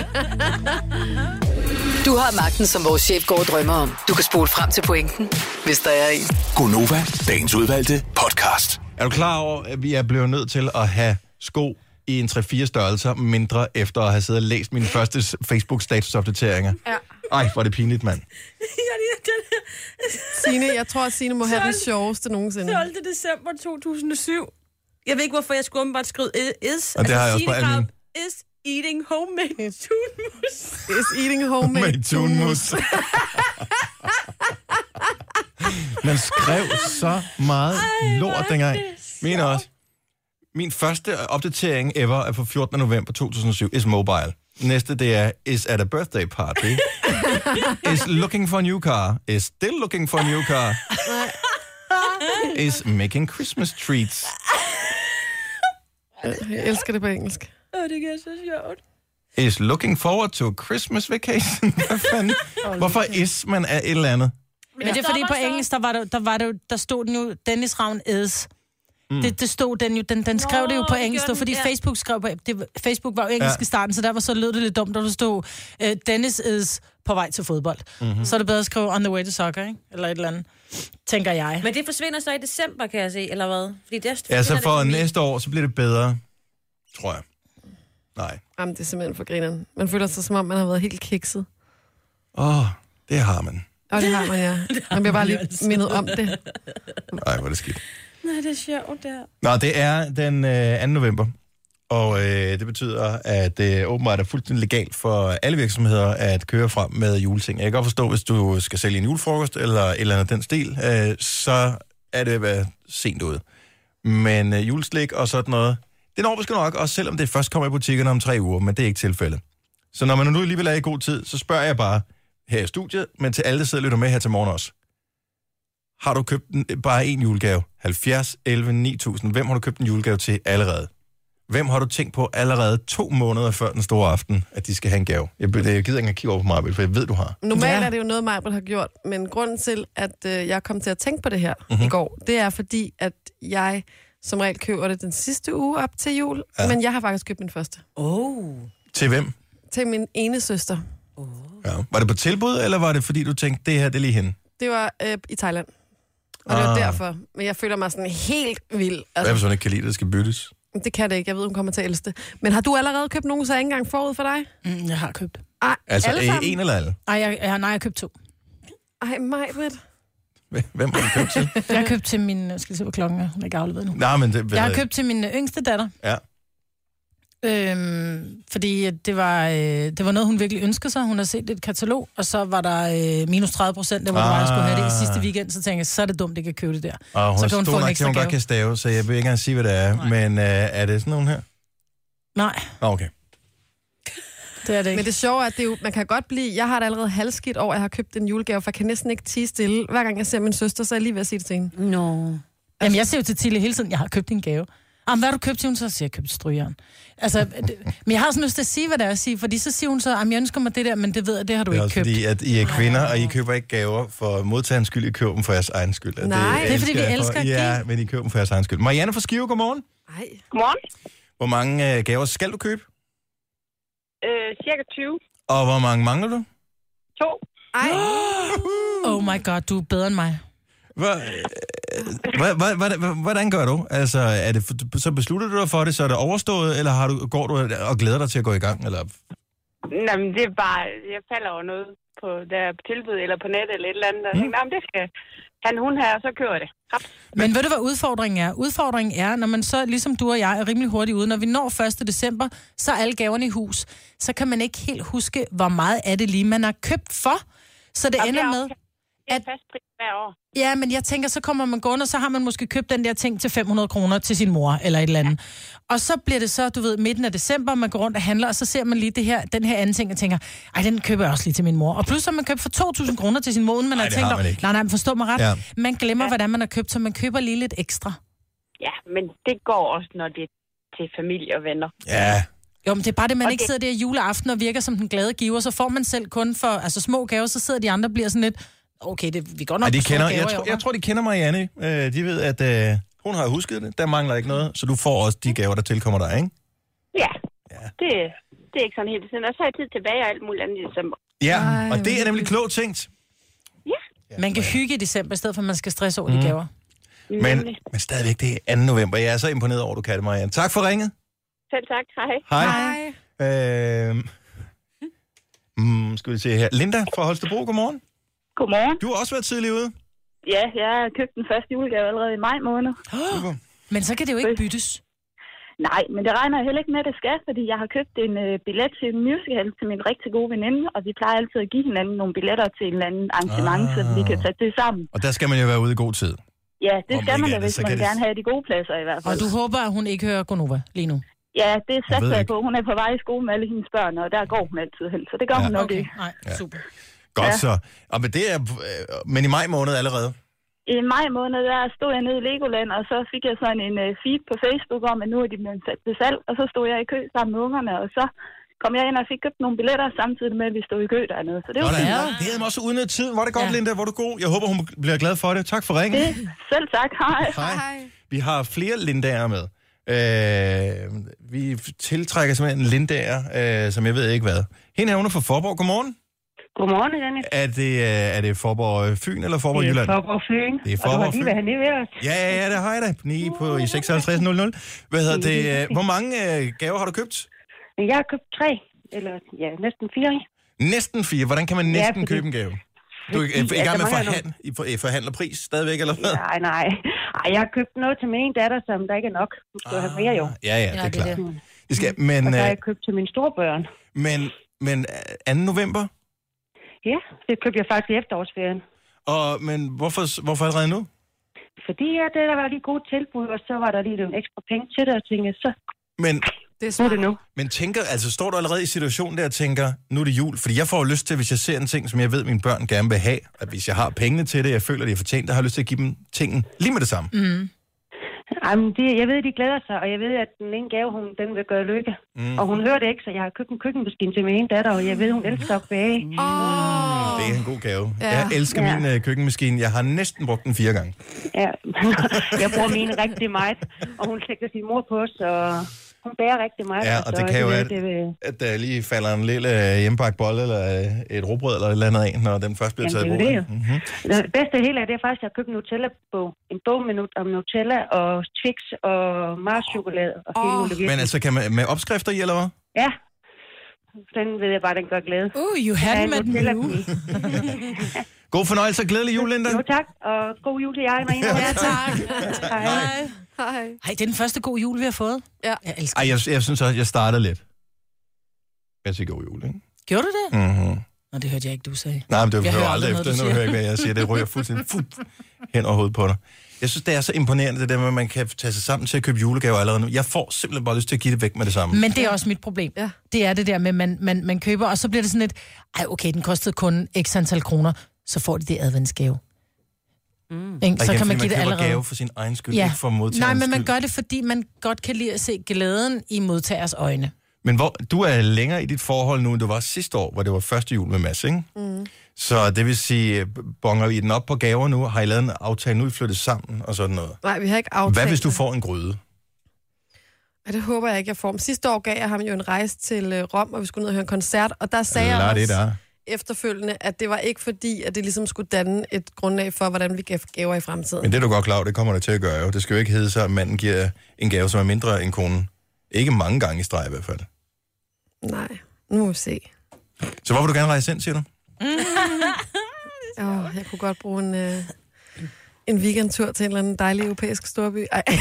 Du har magten, som vores chef går og drømmer om. Du kan spole frem til pointen, hvis der er en.
Gonova, dagens udvalgte podcast.
Er du klar over, at jeg blev nødt til at have sko i en 3-4 størrelser mindre, efter at have siddet og læst
[LAUGHS]
mine første s- Facebook-statusopdateringer? Ja. Ej, hvor er det pinligt, mand.
Jeg lige den her. [LAUGHS]
Signe, jeg tror, at Signe må have den sjoveste nogensinde.
12. december 2007. Jeg ved ikke, hvorfor jeg skulle åbenbart skrive i- is. Altså,
Og det har jeg også på alle mine.
Signe Graup Is eating homemade tunmus.
Is eating homemade
Med tunmus. [LAUGHS] Man skrev så meget Ej, lort dengang. Min også. Min første opdatering ever er fra 14. november 2007. Is mobile. Næste, det er, is at a birthday [LAUGHS] party. is looking for a new car. Is still looking for a new car. is making Christmas treats.
Jeg elsker det på engelsk.
Åh, det er så sjovt.
Is looking forward to a Christmas vacation. [LAUGHS] Hvad fanden? Hvorfor is man er et eller andet?
Men det er fordi på
Stopper så.
engelsk, der, var det, der, var det, jo- der stod den jo, Dennis Ravn is. Mm. Det, det, stod den jo, den, den skrev Nå, det jo på
det
engelsk,
gjorde den,
det fordi
ja.
ja. Facebook skrev på, det, var- Facebook var jo engelsk
Ja.
ja. i starten, så derfor så lød det lidt dumt, når der stod, uh, Dennis is på vej til fodbold. Mm-hmm. Så er det bedre at skrive on the way to soccer, ikke? Eller et eller andet, tænker jeg. Men,
Men det forsvinder så i december, kan jeg se, eller hvad? Fordi det er,
Ja, så for næste år, så bliver det bedre. Tror jeg. Nej.
Jamen, det er simpelthen for grineren. Man føler sig, som om man har været helt kikset.
Åh, oh, det har man.
Og [LAUGHS] det har man, ja. Man bliver bare lige mindet om det.
Nej, hvor er det skidt.
Nej, det er sjovt, der.
Nå, det er den øh, 2. november. Og øh, det betyder, at det øh, åbenbart er fuldstændig legalt for alle virksomheder at køre frem med juleting. Jeg kan godt forstå, hvis du skal sælge en julefrokost eller et eller andet af den stil, øh, så er det været sent ude. Men øh, juleslik og sådan noget, det når vi sgu nok, også selvom det først kommer i butikkerne om tre uger, men det er ikke tilfældet. Så når man nu alligevel er i god tid, så spørger jeg bare her i studiet, men til alle, der sidder og lytter med her til morgen også. Har du købt en, bare en julegave? 70, 11, 9000. Hvem har du købt en julegave til allerede? Hvem har du tænkt på allerede to måneder før den store aften, at de skal have en gave? Jeg, jeg gider ikke engang kigge over på mig, for jeg ved, du har.
Normalt
Ja.
er det jo noget, Michael har gjort, men grunden til, at øh, jeg kom til at tænke på det her
Mhm.
mm-hmm. i går, det er fordi, at jeg som regel køber det den sidste uge op til jul, ja. men jeg har faktisk købt min første.
Oh.
Til hvem?
Til min ene søster.
Ja. Var det på tilbud, eller var det, fordi du tænkte, det her, det er lige hende?
Det var øh, i Thailand. Og det var
Ah.
derfor. Men jeg føler mig sådan helt vild.
Hvad
Altså,
hvis hun ikke kan lide, det skal byttes?
det kan det ikke. Jeg ved, hun kommer til at elske det. Men har du allerede købt nogen, så er jeg ikke engang forud for dig?
mm, jeg har købt.
Ej,
Altså,
alle
øh,
sammen?
en eller alle?
Ej, jeg, jeg, nej, jeg har købt to.
Ej, mig, Britt.
Hvem har du købt
[LAUGHS]
til?
Jeg har købt til min... Jeg skal se, hvor klokken er. Hun er ikke afleveret nu.
Nej, men det,
Jeg har købt til min øh, yngste datter,
Ja.
Øhm, fordi at det var, øh, det var noget, hun virkelig ønskede sig. Hun har set et katalog, og så var der øh, minus 30 procent, der hvor ah. var, jeg skulle have det i sidste weekend. Så tænkte jeg, så er det dumt, det kan købe det der.
Og hun
Så
er
kan hun
stor
få en
nok til,
ekstra
hun godt
gave.
kan stave, så jeg vil ikke engang sige, hvad det er. Nej. Men øh, er det sådan nogen her?
Nej,
Nå, okay.
det er det
Men
ikke.
det sjove er, at det er jo, man kan godt blive... Jeg har det allerede halvskidt over, at jeg har købt en julegave, for jeg kan næsten ikke tige stille. Hver gang jeg ser min søster, så er jeg lige ved at sige det til hende.
No.
Jamen, jeg ser jo til Tille hele tiden, jeg har købt en gave. Jamen, hvad har du købt til hun? Så siger jeg, jeg har købt strygeren. Altså, [LAUGHS] det, men jeg har sådan lyst til at sige, hvad det er at sige, fordi så siger hun så, at jeg ønsker mig det der, men det ved jeg, det har du
Det er
ikke
også
købt.
fordi, at I er kvinder, og I køber ikke gaver for modtagerens skyld, I køber dem for jeres egen skyld. Og
Nej. Det
er, fordi vi
jeg for-
elsker at
Ja,
give.
men I køber dem for jeres egen skyld. Marianne fra Skive, godmorgen.
Nej.
Godmorgen.
Hvor mange øh, gaver skal du købe?
Øh, cirka 20.
Og hvor mange mangler du?
To.
Ej.
Oh my god, du er bedre end mig.
Hvad, hvad, hvad, hvad, hvad, hvordan gør du? Altså, er det, for- så beslutter du dig for det, så er det overstået, eller har du, går du og glæder dig til at gå i gang? Eller?
Nå, men det er bare, jeg falder over noget på der er på tilbud eller på nettet eller et eller andet. Og mm. tænker, "Nå, men det skal han, hun her, og så kører det. Hop.
Men ved du, hvad udfordringen er? Udfordringen er, når man så, ligesom du og jeg, er rimelig hurtigt ude, når vi når 1. december, så er alle gaverne i hus. Så kan man ikke helt huske, hvor meget af det lige, man har købt for. Så det
Og
ender med...
Det er
at-
fast pris hver år.
Ja, men jeg tænker, så kommer man gående, og så har man måske købt den der ting til 500 kroner til sin mor, eller et eller andet. Og så bliver det så, du ved, midten af december, man går rundt og handler, og så ser man lige det her, den her anden ting, og tænker, ej, den køber jeg også lige til min mor. Og pludselig har man købt for 2.000 kroner til sin mor, uden man
Ej,
har
det
tænkt,
har man
over-
ikke.
nej, nej, men forstå mig ret.
Ja.
Ja. Man glemmer, hvordan man har købt, så man køber lige lidt ekstra.
Ja, men det går også, når det er til familie og venner.
Ja,
Jo, men det er bare det, man
Og
ikke
det-
sidder der juleaften og virker som den glade giver, så får man selv kun for altså, små gaver, så sidder de andre og bliver sådan lidt, okay, det, vi går nok
Ej, de
på store
kender, jeg,
gaver i år,
tror, jeg
hva'?"
tror, de kender Marianne. Øh, de ved, at øh, hun har husket det. Der mangler ikke noget, så du får også de gaver, der tilkommer dig, ikke?
Ja,
Ja.
det, det er ikke sådan helt sådan. Og så har jeg tid tilbage og alt muligt andet i december.
Ja,
Ej,
og det er
hvor
nemlig klogt tænkt.
Man kan hygge i december, i stedet for at man skal stresse over mm.
Mhm.
de gaver.
Men, men stadigvæk, det er 2. november. Jeg er så imponeret over, at du kan det, Marianne. Tak for ringet.
Selv tak. Hej.
Hej.
Hej.
Øh, mm, skal vi se her. Linda fra Holstebro, godmorgen.
Godmorgen.
Du har også været tidlig ude.
Ja, jeg har købt den første julegave allerede i maj måned.
Super.
Men så kan det jo ikke byttes.
Nej, men det regner jeg heller ikke med, at det skal, fordi jeg har købt en øh, billet til en musical til min rigtig gode veninde, og vi plejer altid at give hinanden nogle billetter til en eller anden arrangement, ah. så vi kan tage det sammen.
Og der skal man jo være ude i god tid.
Ja, det
Om
skal man
ikke
da,
andet,
hvis
så kan
man
det-
gerne have de gode pladser i hvert fald.
Og du håber, at hun ikke hører Gonova lige nu.
Ja, det
ved
satser jeg
ikke.
på. Hun er på vej i skole med alle hendes børn, og der går hun altid hen, så det gør
Ja.
ja. hun nok
Okay,
ikke.
nej, super.
Godt ja. så.
Ja.
Og men, det er, øh, men i maj måned allerede.
I maj måned, der stod jeg nede i Legoland, og så fik jeg sådan en øh, feed på Facebook om, at nu er de blevet sat til salg, og så stod jeg i kø sammen med ungerne, og så kom jeg ind og fik købt nogle billetter, samtidig med, at vi stod i kø dernede. Så det var
Sådan.
fint.
Det havde man også udnyttet tiden. Var det godt, ja.
Ja.
Linda? Var du god? Jeg håber, hun bliver glad for det. Tak for ringen.
Det. Selv tak. Hej.
Hej. Vi har flere Lindager med. Øh, vi tiltrækker simpelthen en Lindager, øh, som jeg ved ikke hvad. Hende her, hun er fra Forborg. Godmorgen.
Godmorgen, Janne.
Er det, øh, er det Forborg øh, Fyn eller Forborg Jylland?
Forborg Fyn.
Det er
og du
Faaborg
har lige
Fyn.
været hernede Uh. ved os.
Ja, ja, ja, det har jeg da. Ni på i 5600. Hvad
[LAUGHS]
hedder det? øh, Hvor mange øh, gaver har du købt?
Men jeg har købt tre, eller ja, næsten fire.
Næsten fire. Hvordan kan man næsten
fordi-
købe en gave? Du er i,
Fordi,
i
at
gang
der
med at
mangler
forhandle, I for- I forhandler pris stadigvæk, eller hvad?
Nej, nej. Ej, jeg har købt noget til min ene datter, som der ikke er nok. Hun skal have mere jo.
Ah,
Mm.
Ja, ja, det er
det er
klart. Det skal, men,
Og så har
øh,
jeg købt til mine storebørn.
men, men øh, 2. november?
Ja, det købte jeg faktisk i efterårsferien.
Og, men hvorfor, hvorfor allerede nu?
Fordi ja, det, der var lige gode tilbud, og så var der lige nogle ekstra penge til det, og tænkte, jeg, så
Men,
Det er
nu er
smart.
det nu.
men tænker, altså står du allerede i situationen der og tænker, nu er det jul? Fordi jeg får jo lyst til, hvis jeg ser en ting, som jeg ved, mine børn gerne vil have, at hvis jeg har pengene til det, jeg føler, det er fortjent, der har jeg lyst til at give dem tingen lige med det samme. Mm.
Ej, men det, jeg ved, de glæder sig, og jeg ved, at den ene gave, hun, den vil gøre lykke. Mm. Og hun hører det ikke, så jeg har købt en køkkenmaskine til min ene datter, og jeg ved, hun elsker at bage.
Åh.
Det er en god gave. Ja.
Ja.
Jeg elsker ja.
Ja.
min øh, køkkenmaskine. Jeg har næsten brugt den fire gange.
Ja, [LAUGHS] jeg bruger mine rigtig meget, og hun slægter sin mor på os, og hun bærer rigtig meget.
Ja, og det kan jo
det,
være-
det, vil-
At der lige falder en lille øh, hjemmebagt bolle eller øh, et råbrød eller et eller andet af, når den først bliver taget i
Jamen,
brug.
det er jo det.
Mm-hmm.
det bedste af hele er, det er faktisk, at jeg har købt en Nutella-bog. En bog med nu- om Nutella og Twix og Mars chokolade og hele
Åh.
oh,
Men altså, kan man med opskrifter i, eller hvad?
Ja, den ved jeg bare, den gør glæde.
Uh, you had
Ja,
him at
Nutella.
nu.
God fornøjelse og glædelig jul, Linda.
Jo, tak, og god jul til jer.
[LAUGHS]
Ja, tak. Hej.
Hej.
Ej, det er den første god jul, vi har fået.
Ja.
Jeg elsker
Ej, jeg, jeg synes også, jeg starter lidt. Jeg siger god jul, ikke?
Gjorde du det?
Mm-hmm.
Nå, det hørte jeg ikke, du sagde.
Nej, men det
Jeg
hører
hører
aldrig
aldrig noget,
efter.
du
Nu
siger.
hører jeg ikke, hvad jeg siger. Det ryger
[LAUGHS]
fuldstændig fup, hen over hovedet på dig. Jeg synes, det er så imponerende, det der med, at man kan tage sig sammen til at købe julegaver allerede nu. Jeg får simpelthen bare lyst til at give det væk med det samme.
Men det er også mit problem.
Ja.
Det er det der med, at man, man, man køber, og så bliver det sådan lidt, ej okay, den kostede kun x antal kroner, så får de det i adventsgave. Mm. Ikke? Så
igen,
kan
fordi
man give det
køber
allerede.
gave for sin egen skyld, ja. ikke for
Nej,
modtagerens
men man
skyld.
gør det, fordi man godt kan lide at se glæden i modtagers øjne.
Men hvor, du er længere i dit forhold nu, end du var sidste år, hvor det var første jul med Mads, ikke? Mm. Så det vil sige, øh, bonger I den op på gaver nu? Har I lavet en aftale? Nu er I flyttet sammen og sådan noget.
Nej, vi har ikke aftalt.
Hvad hvis du
det.
får en gryde?
Ej, det håber jeg ikke, jeg får. Men sidste år gav jeg ham jo en rejse til øh, Rom, og vi skulle ned og høre en koncert, og der sagde jeg
Lad
også
det der.
efterfølgende, at det var ikke fordi, at det ligesom skulle danne et grundlag for, hvordan vi gav gaver i fremtiden.
Men det er du godt klar over, det kommer det til at gøre jo. Det skal jo ikke hedde sig, at manden giver en gave, som er mindre end konen. Ikke mange gange i streg i hvert fald.
Nej, nu må vi se.
Så hvor vil du gerne rejse ind, siger du?
Åh, jeg kunne godt bruge en, øh, en weekendtur til en eller anden dejlig europæisk storby. Ej. [LAUGHS]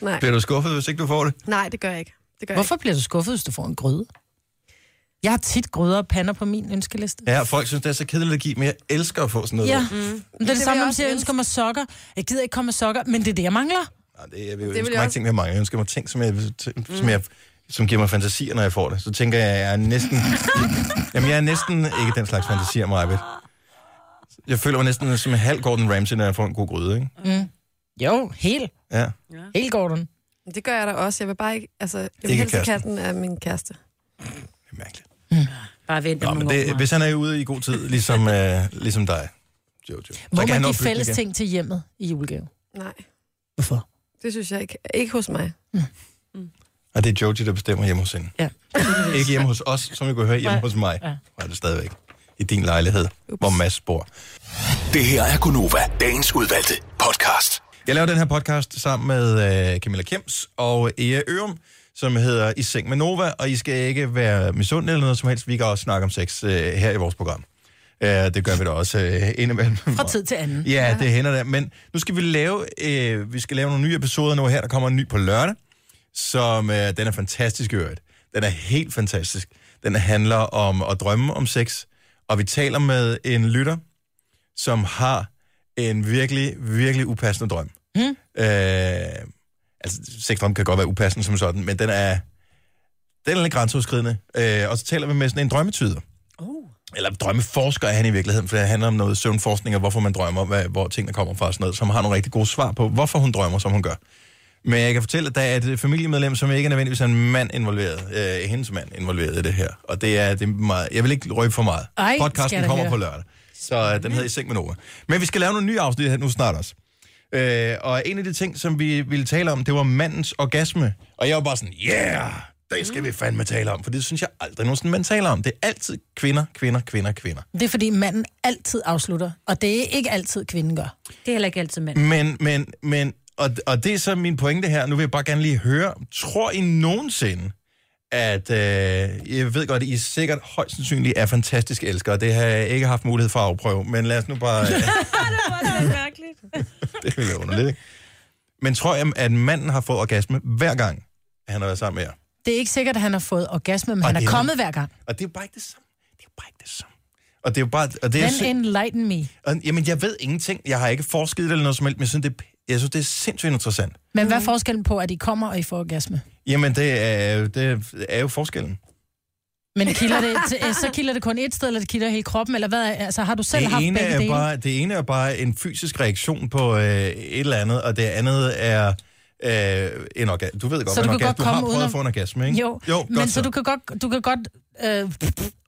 Nej.
Bliver du skuffet, hvis ikke du får det?
Nej, det gør jeg ikke. Det gør jeg
Hvorfor bliver du skuffet, hvis du får en gryde? Jeg har tit gryder og pander på min ønskeliste.
Ja, folk synes, det er så kedeligt at give, men jeg elsker at få sådan noget.
Ja. Mm. Men det er det,
vil
det
jeg
samme, når man
også
siger, jeg
ønske.
ønsker mig sokker. Jeg gider ikke komme med sokker, men det er det, jeg mangler.
Nej, det, jeg vil jo ønske
vil jeg
mig ikke
også.
ting, jeg mangler. Jeg ønsker mig ting, som, jeg, som, jeg, som giver mig fantasier, når jeg får det. Så tænker jeg, jeg er næsten... jamen, jeg er næsten ikke den slags fantasier, Marvitt. Jeg føler mig næsten som en halv Gordon Ramsay, når jeg får en god gryde, ikke?
Jo, helt.
Ja.
Helt, Gordon.
ikke. Det gør jeg da også. Jeg vil bare ikke... Altså, jeg vil
Ikke
helst ikke have
kæresten.
den af min kæreste.
Det er mærkeligt.
Bare vent
Nå,
om
men
nogle år.
det, hvis han er ude i god tid, ligesom, øh, ligesom dig, Jojo. så
Må
kan han
man
nå
give
at bygge
fælles
igen.
ting til hjemmet i julegave?
Nej,
Hvorfor?
det synes jeg ikke. Ikke hos mig.
Og det er Jojo, der bestemmer hjemme hos hende.
Ja.
Ikke hjemme hos os, som vi kunne høre hjemme hos mig. Ja. er det stadigvæk. I din lejlighed, Ups. hvor Mads bor.
Det her er Gunova, dagens udvalgte podcast.
Jeg laver den her podcast sammen med øh, Camilla Kems og Ea Ørum, som hedder I Seng med Nova, og I skal ikke være misundelige eller noget som helst. Vi kan også snakke om sex øh, her i vores program. Øh, det gør vi da også øh, indimellem.
Fra tid til anden.
Ja, det hænder der. Men nu skal vi lave, øh, vi skal lave nogle nye episoder nu her. Der kommer en ny på lørdag, som øh, den er fantastisk i øvrigt. Den er helt fantastisk. Den handler om at drømme om sex. Og vi taler med en lytter, som har en virkelig, virkelig upassende drøm. Hmm. Øh, altså, sexdrøm kan godt være upassende som sådan, men den er, den er lidt grænseoverskridende. Øh, og så taler vi med sådan en drømmetyder
Oh.
eller drømmeforsker er han i virkeligheden, for det handler om noget søvnforskning, og hvorfor man drømmer, hvad, hvor tingene kommer fra og sådan noget, som har nogle rigtig gode svar på, hvorfor hun drømmer, som hun gør. Men jeg kan fortælle, at der er et øh, familiemedlem, som ikke er nødvendigvis er en mand involveret, øh, hendes mand involveret i det her. Og det er, det er meget, jeg vil ikke røbe for meget.
Ej, skal
Podcasten
jeg da
kommer
høre.
på lørdag. Så øh, den hedder I Seng med Nova. Men vi skal lave nogle nye afsnit her nu snart også. Øh, og en af de ting, som vi ville tale om, det var mandens orgasme. Og jeg var bare sådan, yeah, det skal vi fandme tale om, for det synes jeg aldrig nogensinde, man taler om. Det er altid kvinder, kvinder, kvinder, kvinder.
Det er, fordi manden altid afslutter, og det er ikke altid, kvinden gør.
Det er heller ikke altid mand.
Men, men, men, og, og det er så min pointe her, nu vil jeg bare gerne lige høre, tror I nogensinde, at øh, jeg ved godt, I sikkert højst sandsynligt er fantastiske elskere, det har jeg ikke haft mulighed for at afprøve, men lad os nu bare... [LAUGHS] Øh,
mærkeligt.
det vil jeg underligt, ikke? Men tror jeg, at manden har fået orgasme hver gang, han har været sammen med jer?
Det er ikke sikkert, at han har fået orgasme, men han
det
er
er-
kommet hver gang.
Og det er jo bare ikke det samme. Det er jo bare ikke det samme. Og det er jo bare... Og det er
Then
sind-
enlighten me.
og, jamen, jeg ved ingenting. Jeg har ikke forsket i det eller noget som helst, men jeg synes, det, er p- jeg synes, det er sindssygt interessant.
Men hvad er forskellen på, at I kommer og I får orgasme?
Jamen, det er, jo- det er jo forskellen.
Men kilder det, til-
[LAUGHS]
øh, så kilder det kun et sted, eller det kilder hele kroppen, eller hvad? er- Altså, har du selv haft
det, ene
begge dele?
er bare, det ene er bare en fysisk reaktion på øh, et eller andet, og det andet er øh, en orgasme. Du ved godt,
Så
hvad
du
en orgasme.
kan godt
du har
komme
prøvet
uden
at
at-
få en orgasme, ikke?
Jo,
jo
men
godt
så, du kan godt, du kan godt øh,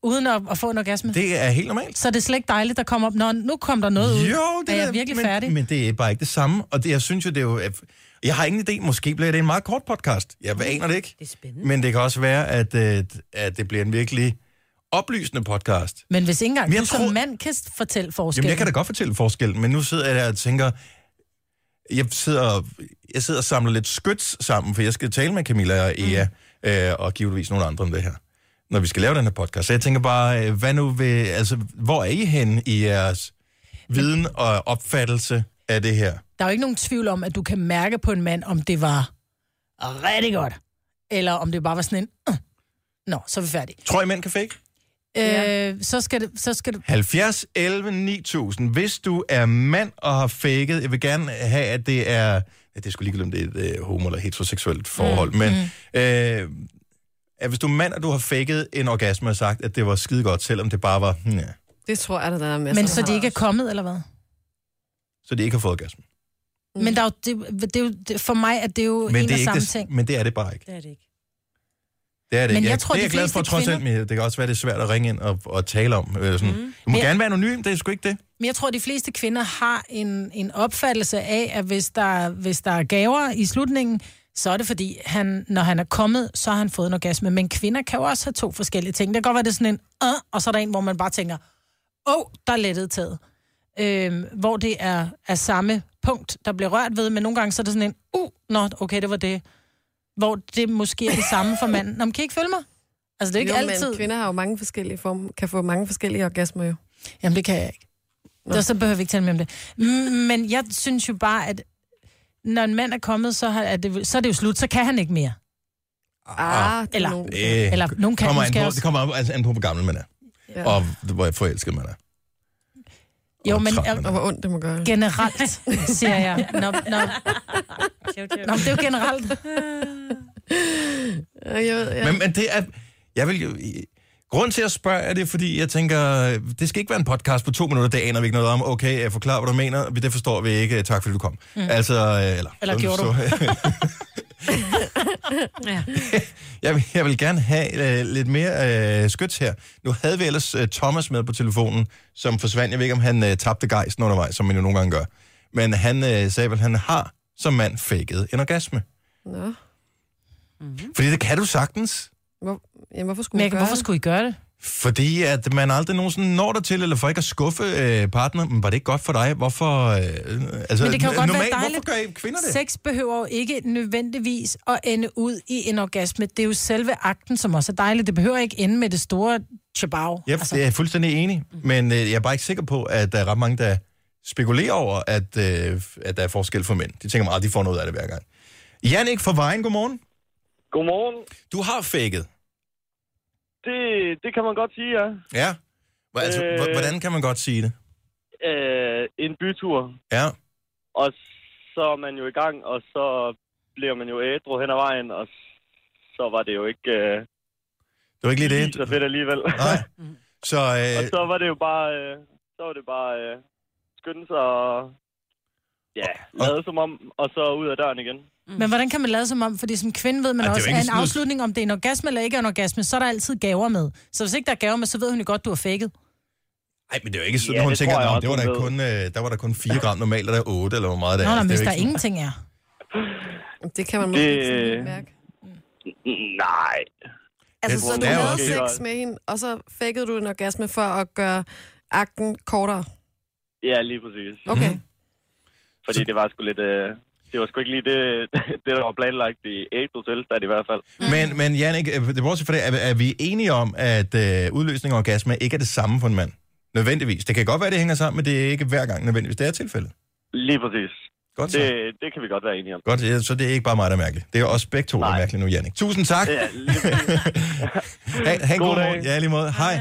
uden at, at få en orgasme. Det...
Det er helt normalt.
Så det er slet ikke dejligt, der kommer op. Nå, nu kom der noget ud.
Jo, det
er jeg virkelig
men,
færdig?
Men det er bare ikke det samme, og det, jeg synes jo, det er jo... at- Jeg har ingen idé, måske bliver det en meget kort podcast. Jeg
Mm.
aner det ikke.
Det er spændende.
Men det kan også være, at, øh, at det bliver en virkelig oplysende podcast.
Men hvis ikke engang
Men jeg
du som
tror-
mand kan s- fortælle forskellen.
Jamen, jeg kan da godt fortælle forskellen, men nu sidder jeg der og tænker... Jeg sidder, jeg sidder og samler lidt skyts sammen, for jeg skal tale med Camilla og Ea, mm. øh, og givetvis nogle andre om det her, når vi skal lave den her podcast. Så jeg tænker bare, øh, hvad nu ved, altså, hvor er I henne i jeres viden og opfattelse af det her?
Der er jo ikke nogen tvivl om, at du kan mærke på en mand, om det var rigtig godt, eller om det bare var sådan en... "Øh, Nå, så er vi færdige.
Tror I, mænd kan fake?
Ja.
Øh, så skal det... Så skal det
70 11 9000. Hvis du er mand og har faket, jeg vil gerne have, at det er... Ja, det er sgu ligegyldigt, om det er et øh, homo- eller heteroseksuelt forhold, mm. men... Øh, at hvis du er mand, og du har faket en orgasme og sagt, at det var skide godt, selvom det bare var... Hmm, ja.
Det tror jeg, der er masser
men
der
så
har
de ikke er
også.
kommet, eller hvad?
så de ikke har fået orgasme.
Men der er jo, det, det er jo, det, for mig er det jo
Men
en
det, er
og
ikke
samme
det,
ting.
men det er det bare ikke.
[LAUGHS] Det er det [LAUGHS] ikke.
Det er det
Men
ikke.
jeg
Jeg,
tror,
det er
de
jeg glad for,
fleste
trods alt, men det kan også være, det er svært at ringe ind og, og tale om. Øh, sådan. Mm. Du må
Men- Ah,
gerne være anonym, det er sgu ikke det.
Men jeg tror, at de fleste kvinder har en, en opfattelse af, at hvis der, hvis der er gaver i slutningen, så er det fordi, han, når han er kommet, så har han fået en orgasme. Men kvinder kan jo også have to forskellige ting. Det kan godt være, det er sådan en, øh, og så er der en, hvor man bare tænker, åh, oh, der er lettet taget. Øhm, hvor det er, er samme punkt, der bliver rørt ved, men nogle gange så er det sådan en, uh, nå, okay, det var det. Hvor det måske er det samme for manden. Nå, men kan I ikke følge mig? Altså, det er ikke
jo, men
altid.
Kvinder har jo mange forskellige form, kan få mange forskellige orgasmer jo.
Jamen, det kan jeg ikke. Nå. Så behøver vi ikke tale mere om det. Mm, Men jeg synes jo bare, at når en mand er kommet, så, har, er, det, så er det jo slut. Så kan han ikke mere.
Ah, det
eller-
er nogen.
Øh,
Eller nogen kan
kommer an
måske
på,
også.
Det kommer an- altså an på, hvor gammel man er,
Ja.
og hvor forelsket man er.
Jo,
Og
men
træt
jeg,
man
Og hvor ondt det må gøre.
generelt, siger jeg. Nå, nå, nå, men det er jo generelt.
Ja, Jeg ved, ja.
Men, men det er... Jeg vil jo... Grunden til at spørge er det, fordi jeg tænker, det skal ikke være en podcast på to minutter, det aner vi ikke noget om. Okay, jeg forklarer, hvad du mener, det forstår vi ikke. Tak fordi du kom. Mm. Altså, øh, eller...
Eller gjorde du?
[LAUGHS]
Ja.
jeg, vil, jeg vil gerne have øh, lidt mere øh, skyts her. Nu havde vi ellers øh, Thomas med på telefonen, som forsvandt. Jeg ved ikke, om han øh, tabte gejsten undervejs, som man jo nogle gange gør. Men han øh, sagde vel, at han har som mand faked en orgasme.
Nå.
Fordi det kan du sagtens.
Hvor, jamen, hvorfor skulle man
Men jeg,
gøre
hvorfor
det?
skulle I gøre det?
Fordi at man aldrig nogensinde når dig til, eller for ikke at skuffe øh, partneren. Men var det ikke godt for dig? Hvorfor? Øh, altså,
Men det kan jo
n-
godt
normalt,
være dejligt.
Hvorfor gør I kvinder det?
Sex behøver jo ikke nødvendigvis at ende ud i en orgasme. Det er jo selve akten, som også er dejlig. Det behøver ikke ende med det store chabau.
Ja, altså. det er jeg fuldstændig enig. Men øh, jeg er bare ikke sikker på, at der er ret mange, der spekulerer over, at, øh, at der er forskel for mænd. De tænker meget, at de får noget af det hver gang. Jannik fra Vejen, godmorgen.
Godmorgen.
Du har fækket.
Det, det kan man godt sige, ja.
Ja. Hva- Altså,
Øh.
øh... Hvordan kan man godt sige det?
Øh, en bytur,
Ja.
og så er man jo i gang, og så bliver man jo ædru hen ad vejen, og så var det jo ikke, øh,
Det var ikke lige
lige
det.
så fedt alligevel.
[LAUGHS] Nej. Så,
og
øh,
så var det jo bare, øh, så var det bare øh, skynde sig og ja, lade som om, og så ud af døren igen.
Men hvordan kan man lade som om? Fordi som kvinde ved man
Ej, det er jo
også,
ikke
at en
sådan noget-
afslutning, om det er en orgasme eller ikke er en orgasme, så er der altid gaver med. Så hvis ikke der er gaver med, så ved hun jo godt, du har fækket.
ej, men det er jo ikke sådan,
Ja,
ja, hun
det
tænker,
tror jeg
at
også,
det var
hun
der
ved."
kun, øh, der var der kun 4 gram normalt, og der er 8, eller hvor meget der
Nå,
er.
nå,
Det er jo
hvis
ikke
der
sådan-
ingenting er.
Det kan man måske
Det-
ikke sådan helt mærke.
Nej.
Altså, så
det
du
er jo
havde
også-
sex med hende, og så fækkede du en orgasme for at gøre akten kortere.
Ja, lige præcis.
Okay. Mm.
Fordi det var sgu lidt... Øh, det var sgu ikke lige det, [LAUGHS] det der var planlagt i April tilstand i hvert fald.
Men, men Jannik, øh, det er bortset fra det, er, er vi enige om, at øh, udløsning og orgasme ikke er det samme for en mand? Nødvendigvis. Det kan godt være, det hænger sammen, men det er ikke hver gang nødvendigvis. Det er tilfældet.
Lige præcis.
Godt så.
Det,
Det...
det kan vi godt være enige om.
Godt, ja, så det er ikke bare mig, der er mærkelig. Det er også begge to, der er
Nej.
mærkelige nu, Jannik. Tusind tak. [LAUGHS]
Ja, lige
ha, ha en god,
God
god
dag.
morgen. Ja, i lige måde. Hej.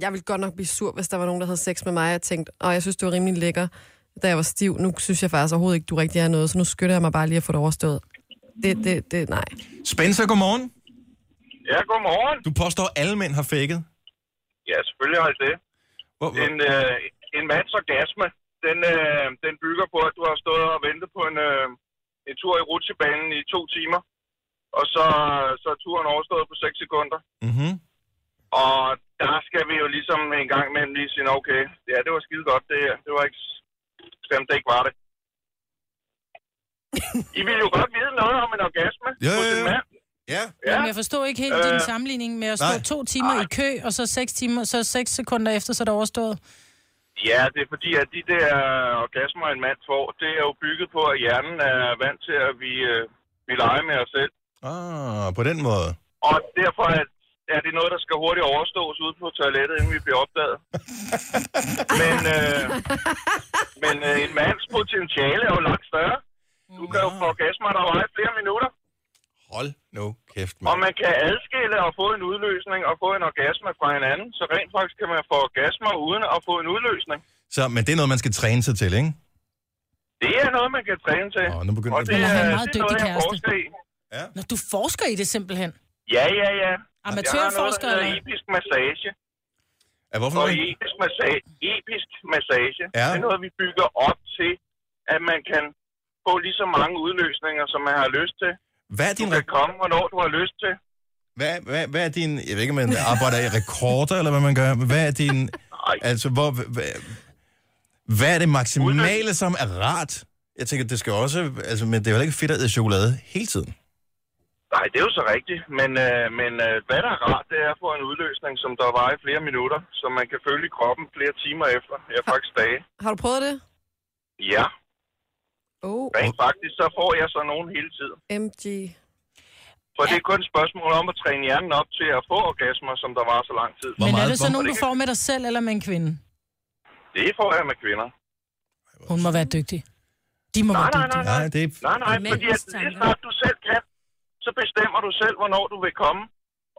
Jeg ville godt nok blive sur, hvis der var nogen, der havde sex med mig, og tænkte, og jeg synes, det var rimelig lækker, da jeg var stiv. Nu synes jeg faktisk overhovedet ikke, du rigtig er noget, så nu skynder jeg mig bare lige at få det overstået. Det, det, det, nej.
Spencer, godmorgen.
Ja, godmorgen.
Du påstår, at alle mænd har fækket.
Ja, selvfølgelig har jeg det.
Hvor, hvor,
En, øh, en mands orgasme, den, øh, den bygger på, at du har stået og ventet på en, øh, en tur i rutsjebanen i to timer. Og så, så er turen overstået på 6 sekunder.
øh-
mm-hmm.
Og der skal vi jo ligesom en gang imellem lige sige, "Nå, [LAUGHS] okay, ja, det var skide godt, det her. Det var ikke stemt, det ikke var det. I vil jo godt vide noget om en orgasme
Ja,
hos
ja,
en
ja.
mand.
Ja,
Ja. Øh,
Men jeg forstår ikke helt din sammenligning med at stå
nej.
to timer i kø, og så seks timer, så seks sekunder efter, så er det overstået.
Ja, det er fordi, at de der orgasmer, en mand får, det er jo bygget på, at hjernen er vant til, at vi, øh, vi leger med os selv.
ah, på den måde.
Og derfor er, er det noget, der skal hurtigt overstås ude på toilettet, inden vi bliver
[LAUGHS]
opdaget. men øh, men øh, en mands potentiale er jo langt større. Du kan jo få orgasmer, der vejer flere minutter,
Hold nu kæft,
og
mand.
man kan adskille og få en udløsning og få en orgasme fra hinanden. Så rent faktisk kan man få orgasmer uden at få en udløsning.
Så, men det er noget, man skal træne sig til, ikke?
Det er noget, man kan træne til.
Åh, nu begynder
og
jeg-
det,
Man
er,
har en
det
meget
er noget,
dygtig
jeg
kæreste.
forsker i.
Nå, du forsker i det simpelthen.
Ja, ja, ja. Jeg har noget, der
Amatørforsker,
hedder
eller?
episk massage.
Ja, hvorfor
Og
noget?
episk, massa- episk massage,
Ja.
ja. det er noget, vi bygger op til, at man kan få lige så mange udløsninger, som man har lyst til.
Hvad er
Du
din,
kan komme, hvornår du har lyst til.
hvad, hvad, hvad er din, jeg ved ikke, om man arbejder
[LAUGHS]
i rekorder, eller hvad man gør, men hvad er din,
Ej,
altså, hvor, hvad, hvad er det maksimale, som er rart? Jeg tænker, det skal også, altså, men det er jo ikke fedt at æde chokolade hele tiden.
nej, det er jo så rigtigt. Men, øh, men øh, hvad der er rart, det er at få en udløsning, som der varer i flere minutter, så man kan følge kroppen flere timer efter. Ja, faktisk dage.
Har du prøvet det?
Ja,
Oh,
rent faktisk, så får jeg så nogen hele tiden.
MG.
For det er kun et spørgsmål om at træne hjernen op til at få orgasmer, som der var så lang tid.
Hvor
Men er
meget-
det så
hvor-
nogen, du får med dig selv eller med en kvinde?
Det får jeg med kvinder.
Hun må være dygtig. De må
Nej,
være
nej,
dygtige.
nej, nej.
Nej, det er,
Nej, nej,
Mændens
fordi at lige
tanker.
snart du selv kan, så bestemmer du selv, hvornår du vil komme,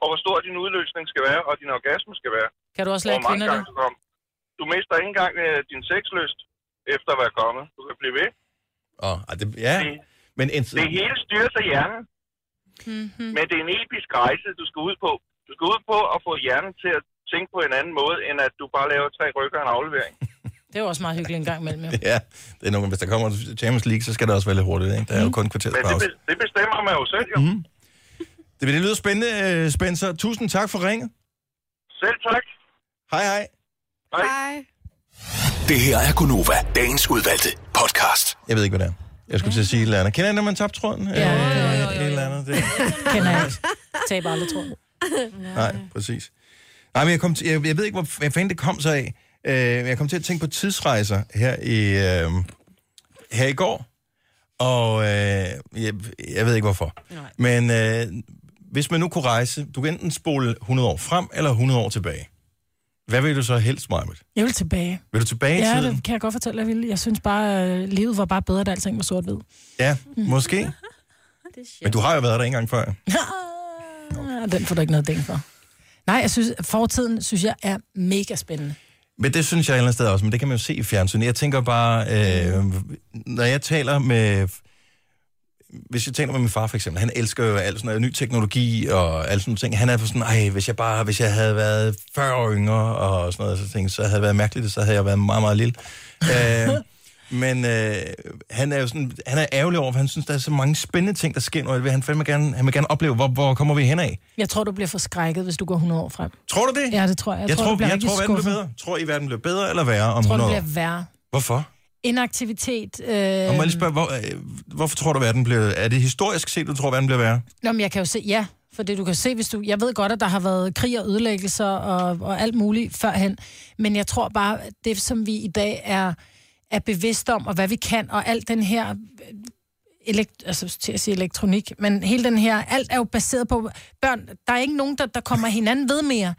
og hvor stor din udløsning skal være, og din orgasme skal være.
Kan du også
Og
lade
hvor mange
kvinder
gange
det?
du kommer. Du mister ikke engang øh, din sexlyst efter at være kommet. Du kan blive ved.
åh, ej, det, ja,
Det-
men en,
Det hele styres af hjernen. Mm-hmm. Men det er en episk rejse, du skal ud på. Du skal ud på at få hjernen til at tænke på en anden måde, end at du bare laver tre rykker og en aflevering.
Det er jo også meget hyggeligt en gang imellem. Jo.
ja, det er nogen, hvis der kommer Champions League, så skal det også være lidt hurtigt, ikke? Der er jo kun et kvarters
Mhm. Men det,
pause.
be- det bestemmer man jo selv, jo.
Mm-hmm.
Mm.
Mhm. Det, det lyder spændende, øh, Spencer. Tusind tak for ringet.
Selv tak.
Hej, hej.
Hej.
Det her er Gunova, dagens udvalgte podcast.
Jeg ved ikke, hvad det er. Jeg skulle til at sige et eller andet. Kender I, når man tabte tråden? Ja,
jo, jo, jo,
Et eller andet. Det.
Kender jeg ikke. Taber aldrig, tror jeg.
Nej, præcis. Nej, men jeg, kom til, jeg, jeg ved ikke, hvor f- fanden det kom sig af. Øh, men jeg kom til at tænke på tidsrejser her i, øh, her i går. Og øh, jeg, jeg ved ikke, hvorfor.
Nej.
Men øh, hvis man nu kunne rejse, du kan enten spole 100 år frem eller 100 år tilbage. Hvad vil du så helst, Marmit?
Jeg vil tilbage.
Vil du tilbage i
Ja,
tiden?
det kan jeg godt fortælle, jeg vil. Jeg synes bare, øh, livet var bare bedre, da alting var sort-hvid.
Ja, måske.
Det er sjovt.
Men du har jo været der en gang før.
Ah, Den får du ikke noget ding for. Nej, jeg synes, fortiden synes jeg er mega spændende.
Men det synes jeg et eller andet sted også, men det kan man jo se i fjernsyn. Jeg tænker bare, øh, når jeg taler med... Hvis jeg taler med min far for eksempel, han elsker jo alt sådan noget ny teknologi og alt sådan nogle ting. Han er for sådan, ej, hvis jeg bare hvis jeg havde været 40 år yngre og sådan noget, så, tænkte, jeg, så havde det været mærkeligt, og så havde jeg været meget, meget lille. øh, men øh, han er jo sådan, han er ærgerlig over, for han synes, der er så mange spændende ting, der sker nu. og det vil Han, fandme gerne, han vil gerne opleve, hvor, hvor kommer vi hen af?
Jeg tror, du bliver forskrækket, hvis du går 100 år frem.
Tror du det?
Ja, det tror jeg.
jeg, jeg tror,
du bliver
jeg
rigtig
tror verden
skuffet.
bliver bedre. Tror I, verden bliver bedre eller værre om
Jeg tror,
100
det
år?
bliver værre.
Hvorfor?
Inaktivitet. Øh...
Og må jeg lige spørge, hvor, øh, hvorfor tror du, verden bliver... Er det historisk set, du tror, verden bliver værre?
Nå, men jeg kan jo se, ja. For det, du kan se, hvis du... Jeg ved godt, at der har været krig og ødelæggelser og, og alt muligt førhen. Men jeg tror bare, at det, som vi i dag er, er bevidste om, og hvad vi kan, og alt den her... øh, Elekt, altså til at sige elektronik, men hele den her, alt er jo baseret på børn. Der er ikke nogen, der, der kommer hinanden ved mere.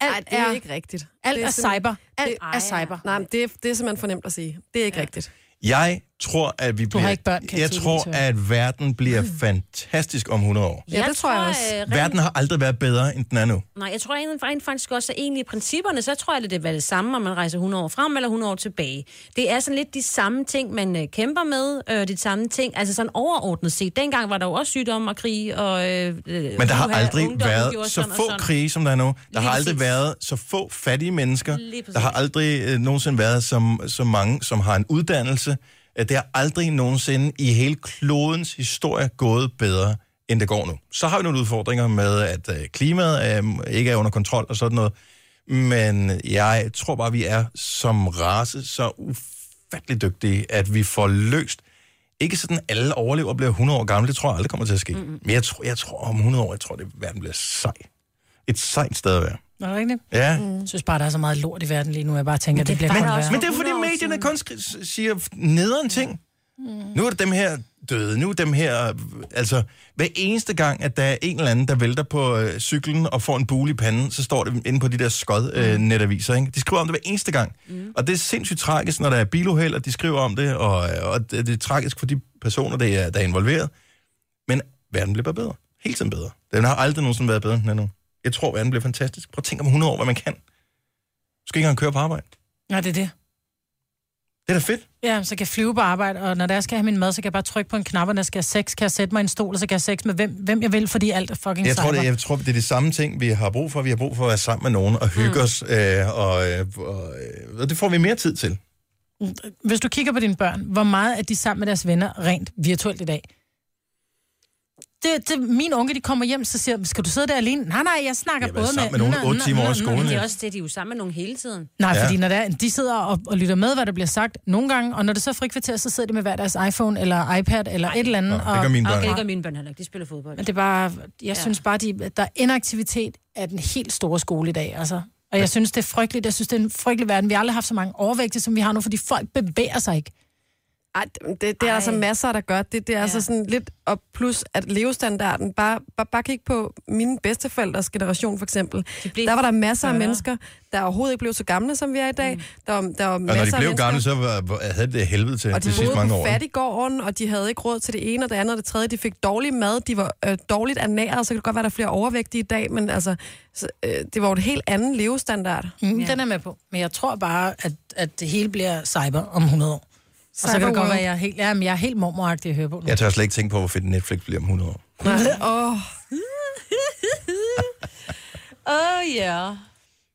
Alt
Ej, det er
er,
ikke rigtigt.
alt
det
er,
simpelthen-
cyber. Alt
det-
er cyber.
Nej, men det, er- det er simpelthen for nemt at sige. Det er ikke ja. rigtigt.
Jeg tror, at vi bliver...
har ikke børn, kan jeg
jeg
tydeligt
tror,
høre.
at verden bliver fantastisk om 100 år.
Ja, det tror jeg også.
øh, rent-
Verden har aldrig været bedre, end den er nu.
Nej, jeg tror egentlig- rent faktisk også, at egentlig i principperne, så tror jeg, at det var det samme, om man rejser 100 år frem eller 100 år tilbage. Det er sådan lidt de samme ting, man øh, kæmper med, øh, de samme ting, altså sådan overordnet set. Dengang var der jo også sygdomme og krig, og... Øh,
Men der har aldrig været så få krige, som der er nu. Der
Lige
har aldrig
præcis.
været så få fattige mennesker.
Lige præcis.
Der har aldrig øh, nogensinde været så, så mange, som har en uddannelse. Øh, Det har aldrig nogensinde i hele klodens historie gået bedre, end det går nu. Så har vi nogle udfordringer med, at øh, klimaet øh, ikke er under kontrol og sådan noget. Men jeg tror bare, vi er som race så ufattelig dygtige, at vi får løst ikke sådan, at alle overlever og bliver 100 år gamle. Det tror jeg aldrig kommer til at ske. Mm-hmm. Men jeg tror, jeg tror, om 100 år, jeg tror, det verden bliver sej. Et sejt sted at være.
Er det ikke det?
Ja. Mm.
Jeg synes bare, der er så meget lort i verden lige nu. Jeg bare tænker, det, det bliver
Men,
kun
også-
værre.
men det er fordi
100 år
medierne
siden. Mm.
kun skri- siger nederen ting. Nu er det dem her døde, nu er dem her... øh, Altså, hver eneste gang, at der er en eller anden, der vælter på øh, cyklen og får en bule i panden, så står det inde på de der
Mm.
skod-netaviser, ikke? De skriver om det hver eneste gang. Mm. Og det er sindssygt tragisk, når der er biluheld, og de skriver om det, og, øh, og det, det er tragisk for de personer, der er, der er involveret. Men verden bliver bare bedre. Hele tiden bedre. Den har aldrig nogensinde været bedre end den er nu. Jeg tror, verden bliver fantastisk. Prøv at tænke om 100 år, hvad man kan. Du skal ikke engang køre på arbejde.
Nej, det er det.
Det er da fedt.
Ja, så kan jeg flyve på arbejde, og når der skal have min mad, så kan jeg bare trykke på en knap, og når jeg skal have sex, kan jeg sætte mig i en stol, og så kan jeg have sex med hvem, hvem jeg vil, fordi alt er fucking
Jeg tror,
cyber.
det, jeg tror, det er de samme ting, vi har brug for. Vi har brug for at være sammen med nogen og hygge mm. os, øh, og, øh, og, øh, og det får vi mere tid til.
Hvis du kigger på dine børn, hvor meget er de sammen med deres venner rent virtuelt i dag? Det, det, min unge, de kommer hjem, så siger jeg, skal du sidde der alene? Nej, nej, jeg snakker
Jeg har
både
været
med...
sammen med nogen
Nå,
otte
nå,
timer
nå,
over
nå.
skolen.
Men det er
ja.
også det, de er jo sammen med nogen hele tiden.
Nej,
Ja.
ja. fordi når der, er- de sidder og, og lytter med, hvad der bliver sagt nogle gange, og når det så er frikvarter, så sidder de med hver deres iPhone eller iPad eller Ej. et eller andet.
Nå,
og,
det gør mine børn.
Okay, det gør
ikke.
mine børn heller ikke. De spiller fodbold.
Men det er bare, jeg ja. synes bare, de, der er inaktivitet af den helt store skole i dag, altså. Og jeg synes, det er frygteligt. Jeg synes, det er en frygtelig verden. Vi har aldrig haft så mange overvægtige, som vi har nu, fordi folk bevæger sig ikke.
Ej, det, det er Ej.
Ej.
altså masser, der gør det. Det er ja. altså sådan lidt, og plus at levestandarden, bare, bare, bare kig på mine bedsteforældres generation for eksempel.
blev
Der var der masser af
større.
mennesker, der overhovedet ikke blev så gamle, som vi er i dag. Mm. Der, var, der var
Og
masser
når de
af
blev
mennesker,
gamle, så var, var- havde det helvede til
og de
de sidste
boede
mange
på
år. ikke?
fattigården, og de havde ikke råd til det ene og det andet og det tredje. De fik dårlig mad, de var øh, dårligt ernæret, så kan det godt være, der er flere overvægtige i dag, men altså, så, øh, det var jo en helt anden levestandard.
Mm, ja. Den er med på. Men jeg tror bare, at, at det hele bliver cyber om 100 år. Og så kan det godt
Cyberworld.
være, at jeg er helt, ja, men jeg er helt mormoragtig at høre på nu.
Jeg tør slet ikke tænke på, hvor fedt Netflix bliver om 100 år.
Åh, oh,
Åh, ja.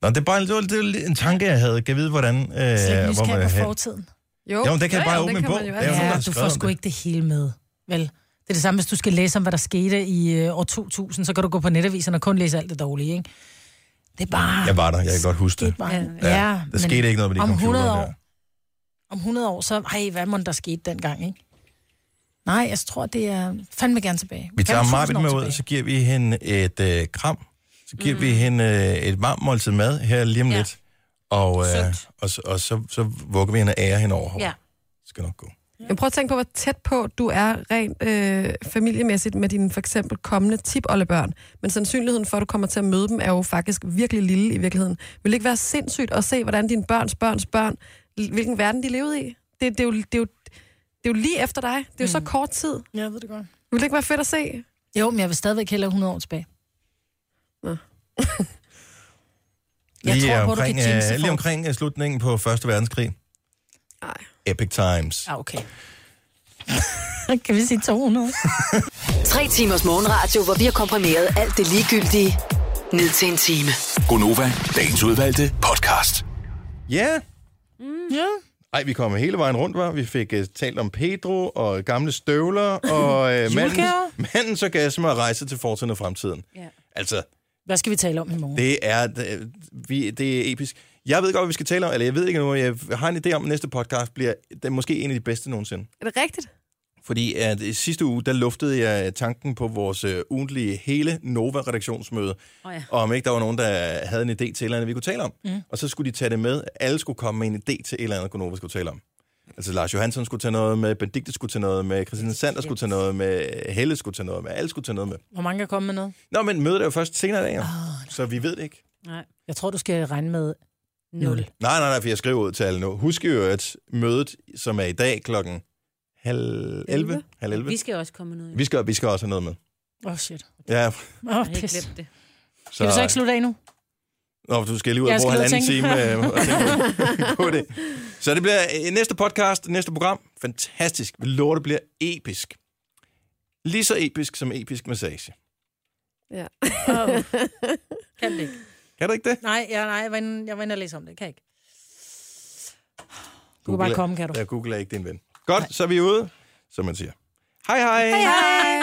Nå, det, er bare, det, var, det var lidt en tanke, jeg havde. Kan jeg vide, hvordan... Øh, hvor
Slet ikke
man,
nysgerrig på
hen-
fortiden.
jo.
Jo, men det kan jeg bare
det
åbne en
kan
bog.
man jo
Det er
altid.
jo nogen,
Ja,
der har
du
skrevet
får
om
sgu
det.
ikke det hele med, vel? Det er det samme, hvis du skal læse om, hvad der skete i øh, år 2000, så kan du gå på netavisen og kun læse alt det dårlige, ikke? Det er bare...
jeg var der, jeg kan godt huske
det er
det.
bare,
Ja.
ja, ja,
Der skete ikke noget med de
om 100
computere
år,
der.
Om 100 år, så... Ej, hvad må der skete dengang, ikke? Nej, jeg tror, det er... Fandme gerne tilbage.
Vi tager
Fandme
Marvin
tusind år
med ud,
tilbage.
så giver vi hende et øh, kram. Så giver mm. vi hende øh, et varmt måltid mad her lige om
Ja.
lidt. Og, øh,
Sundt.
og, så- og så, så vugger vi hende og ærer hende over.
Ja.
Ja. Det skal nok gå.
Men prøv at tænke på, hvor tæt på du er rent øh, familiemæssigt med dine for eksempel kommende tipoldebørn. Men sandsynligheden for, at du kommer til at møde dem, er jo faktisk virkelig lille i virkeligheden. Vil det ikke være sindssygt at se, hvordan dine børns børns børn, hvilken verden de levede i? Det, det, er, jo, det, er, jo, det er jo lige efter dig. Det er jo mm. så kort tid.
Ja, jeg ved det godt.
Vil det ikke være fedt at se?
Jo, men jeg vil stadigvæk hellere 100 år tilbage. Jeg
Lige,
tror på, du kan
omkring,
jinxe
øh,
folk.
lige omkring øh, slutningen på Første verdenskrig.
Nej.
Epic Times.
Ja, Ah, okay. [LAUGHS] kan vi sige 200?
Tre timers morgenradio, hvor vi har komprimeret alt det ligegyldige ned til en time.
Gonova, dagens udvalgte podcast.
Ja. Yeah.
[LAUGHS] ja.
Ej, vi kom hele vejen rundt, var. Vi fik uh, talt om Pedro og gamle støvler og
[LAUGHS]
uh, manden,
Julegaver.
manden så gas med at rejse til fortiden og fremtiden.
Ja.
Altså,
Hvad skal vi tale om i morgen?
det er, det, vi, det er episk. Jeg ved godt, hvad vi skal tale om, eller jeg ved ikke nu, jeg har en idé om, at næste podcast bliver den, måske en af de bedste nogensinde.
Er det rigtigt?
Fordi at i sidste uge, der luftede jeg tanken på vores øh, ugentlige hele Nova-redaktionsmøde,
Åh, ja.
og om ikke der var nogen, der havde en idé til et eller andet, vi kunne tale om. Mm. Og så skulle de tage det med. Alle skulle komme med en idé til et eller andet, Gunova skulle tale om. Altså Lars Johansson skulle tage noget med, Benedikte skulle tage noget med, Christine Sander skulle tage noget med, Helle skulle tage noget med, alle skulle tage noget med.
Hvor mange kan komme med noget?
Nå, men mødet er jo først senere i dag, jo. så vi ved det ikke.
Nej.
Ah, Jeg tror, du skal regne med 0.
Nul.
Nej, nej, nej, for jeg skriver ud til alle nu. Husk jo, at mødet, som er i dag klokken halv 11, halv 11.
Vi skal også komme med noget.
Vi skal, vi skal også have noget med.
Åh, oh, shit.
Ja,
Åh, oh,
Jeg har helt
pis.
glemt det.
Skal vi så ikke slutte af nu?
Nå, du skal lige ud og
Jeg
bruge
skal
halvanden
lige
time
ud og
øh, og tænke
[LAUGHS]
på det. Så det bliver øh, næste podcast, næste program. Fantastisk. Vi lover, det bliver episk. Lige så episk som episk massage.
Ja.
Oh. kan det ikke.
Kan du ikke det?
Nej, ja, nej, jeg var inde, jeg var inde og læse om det. Kan jeg ikke. Du
Google
kan bare
er-
komme, kan du.
Ja, Google er ikke din ven. Godt, så er vi ude, som man siger. Hej hej! hej, hej.
Hej!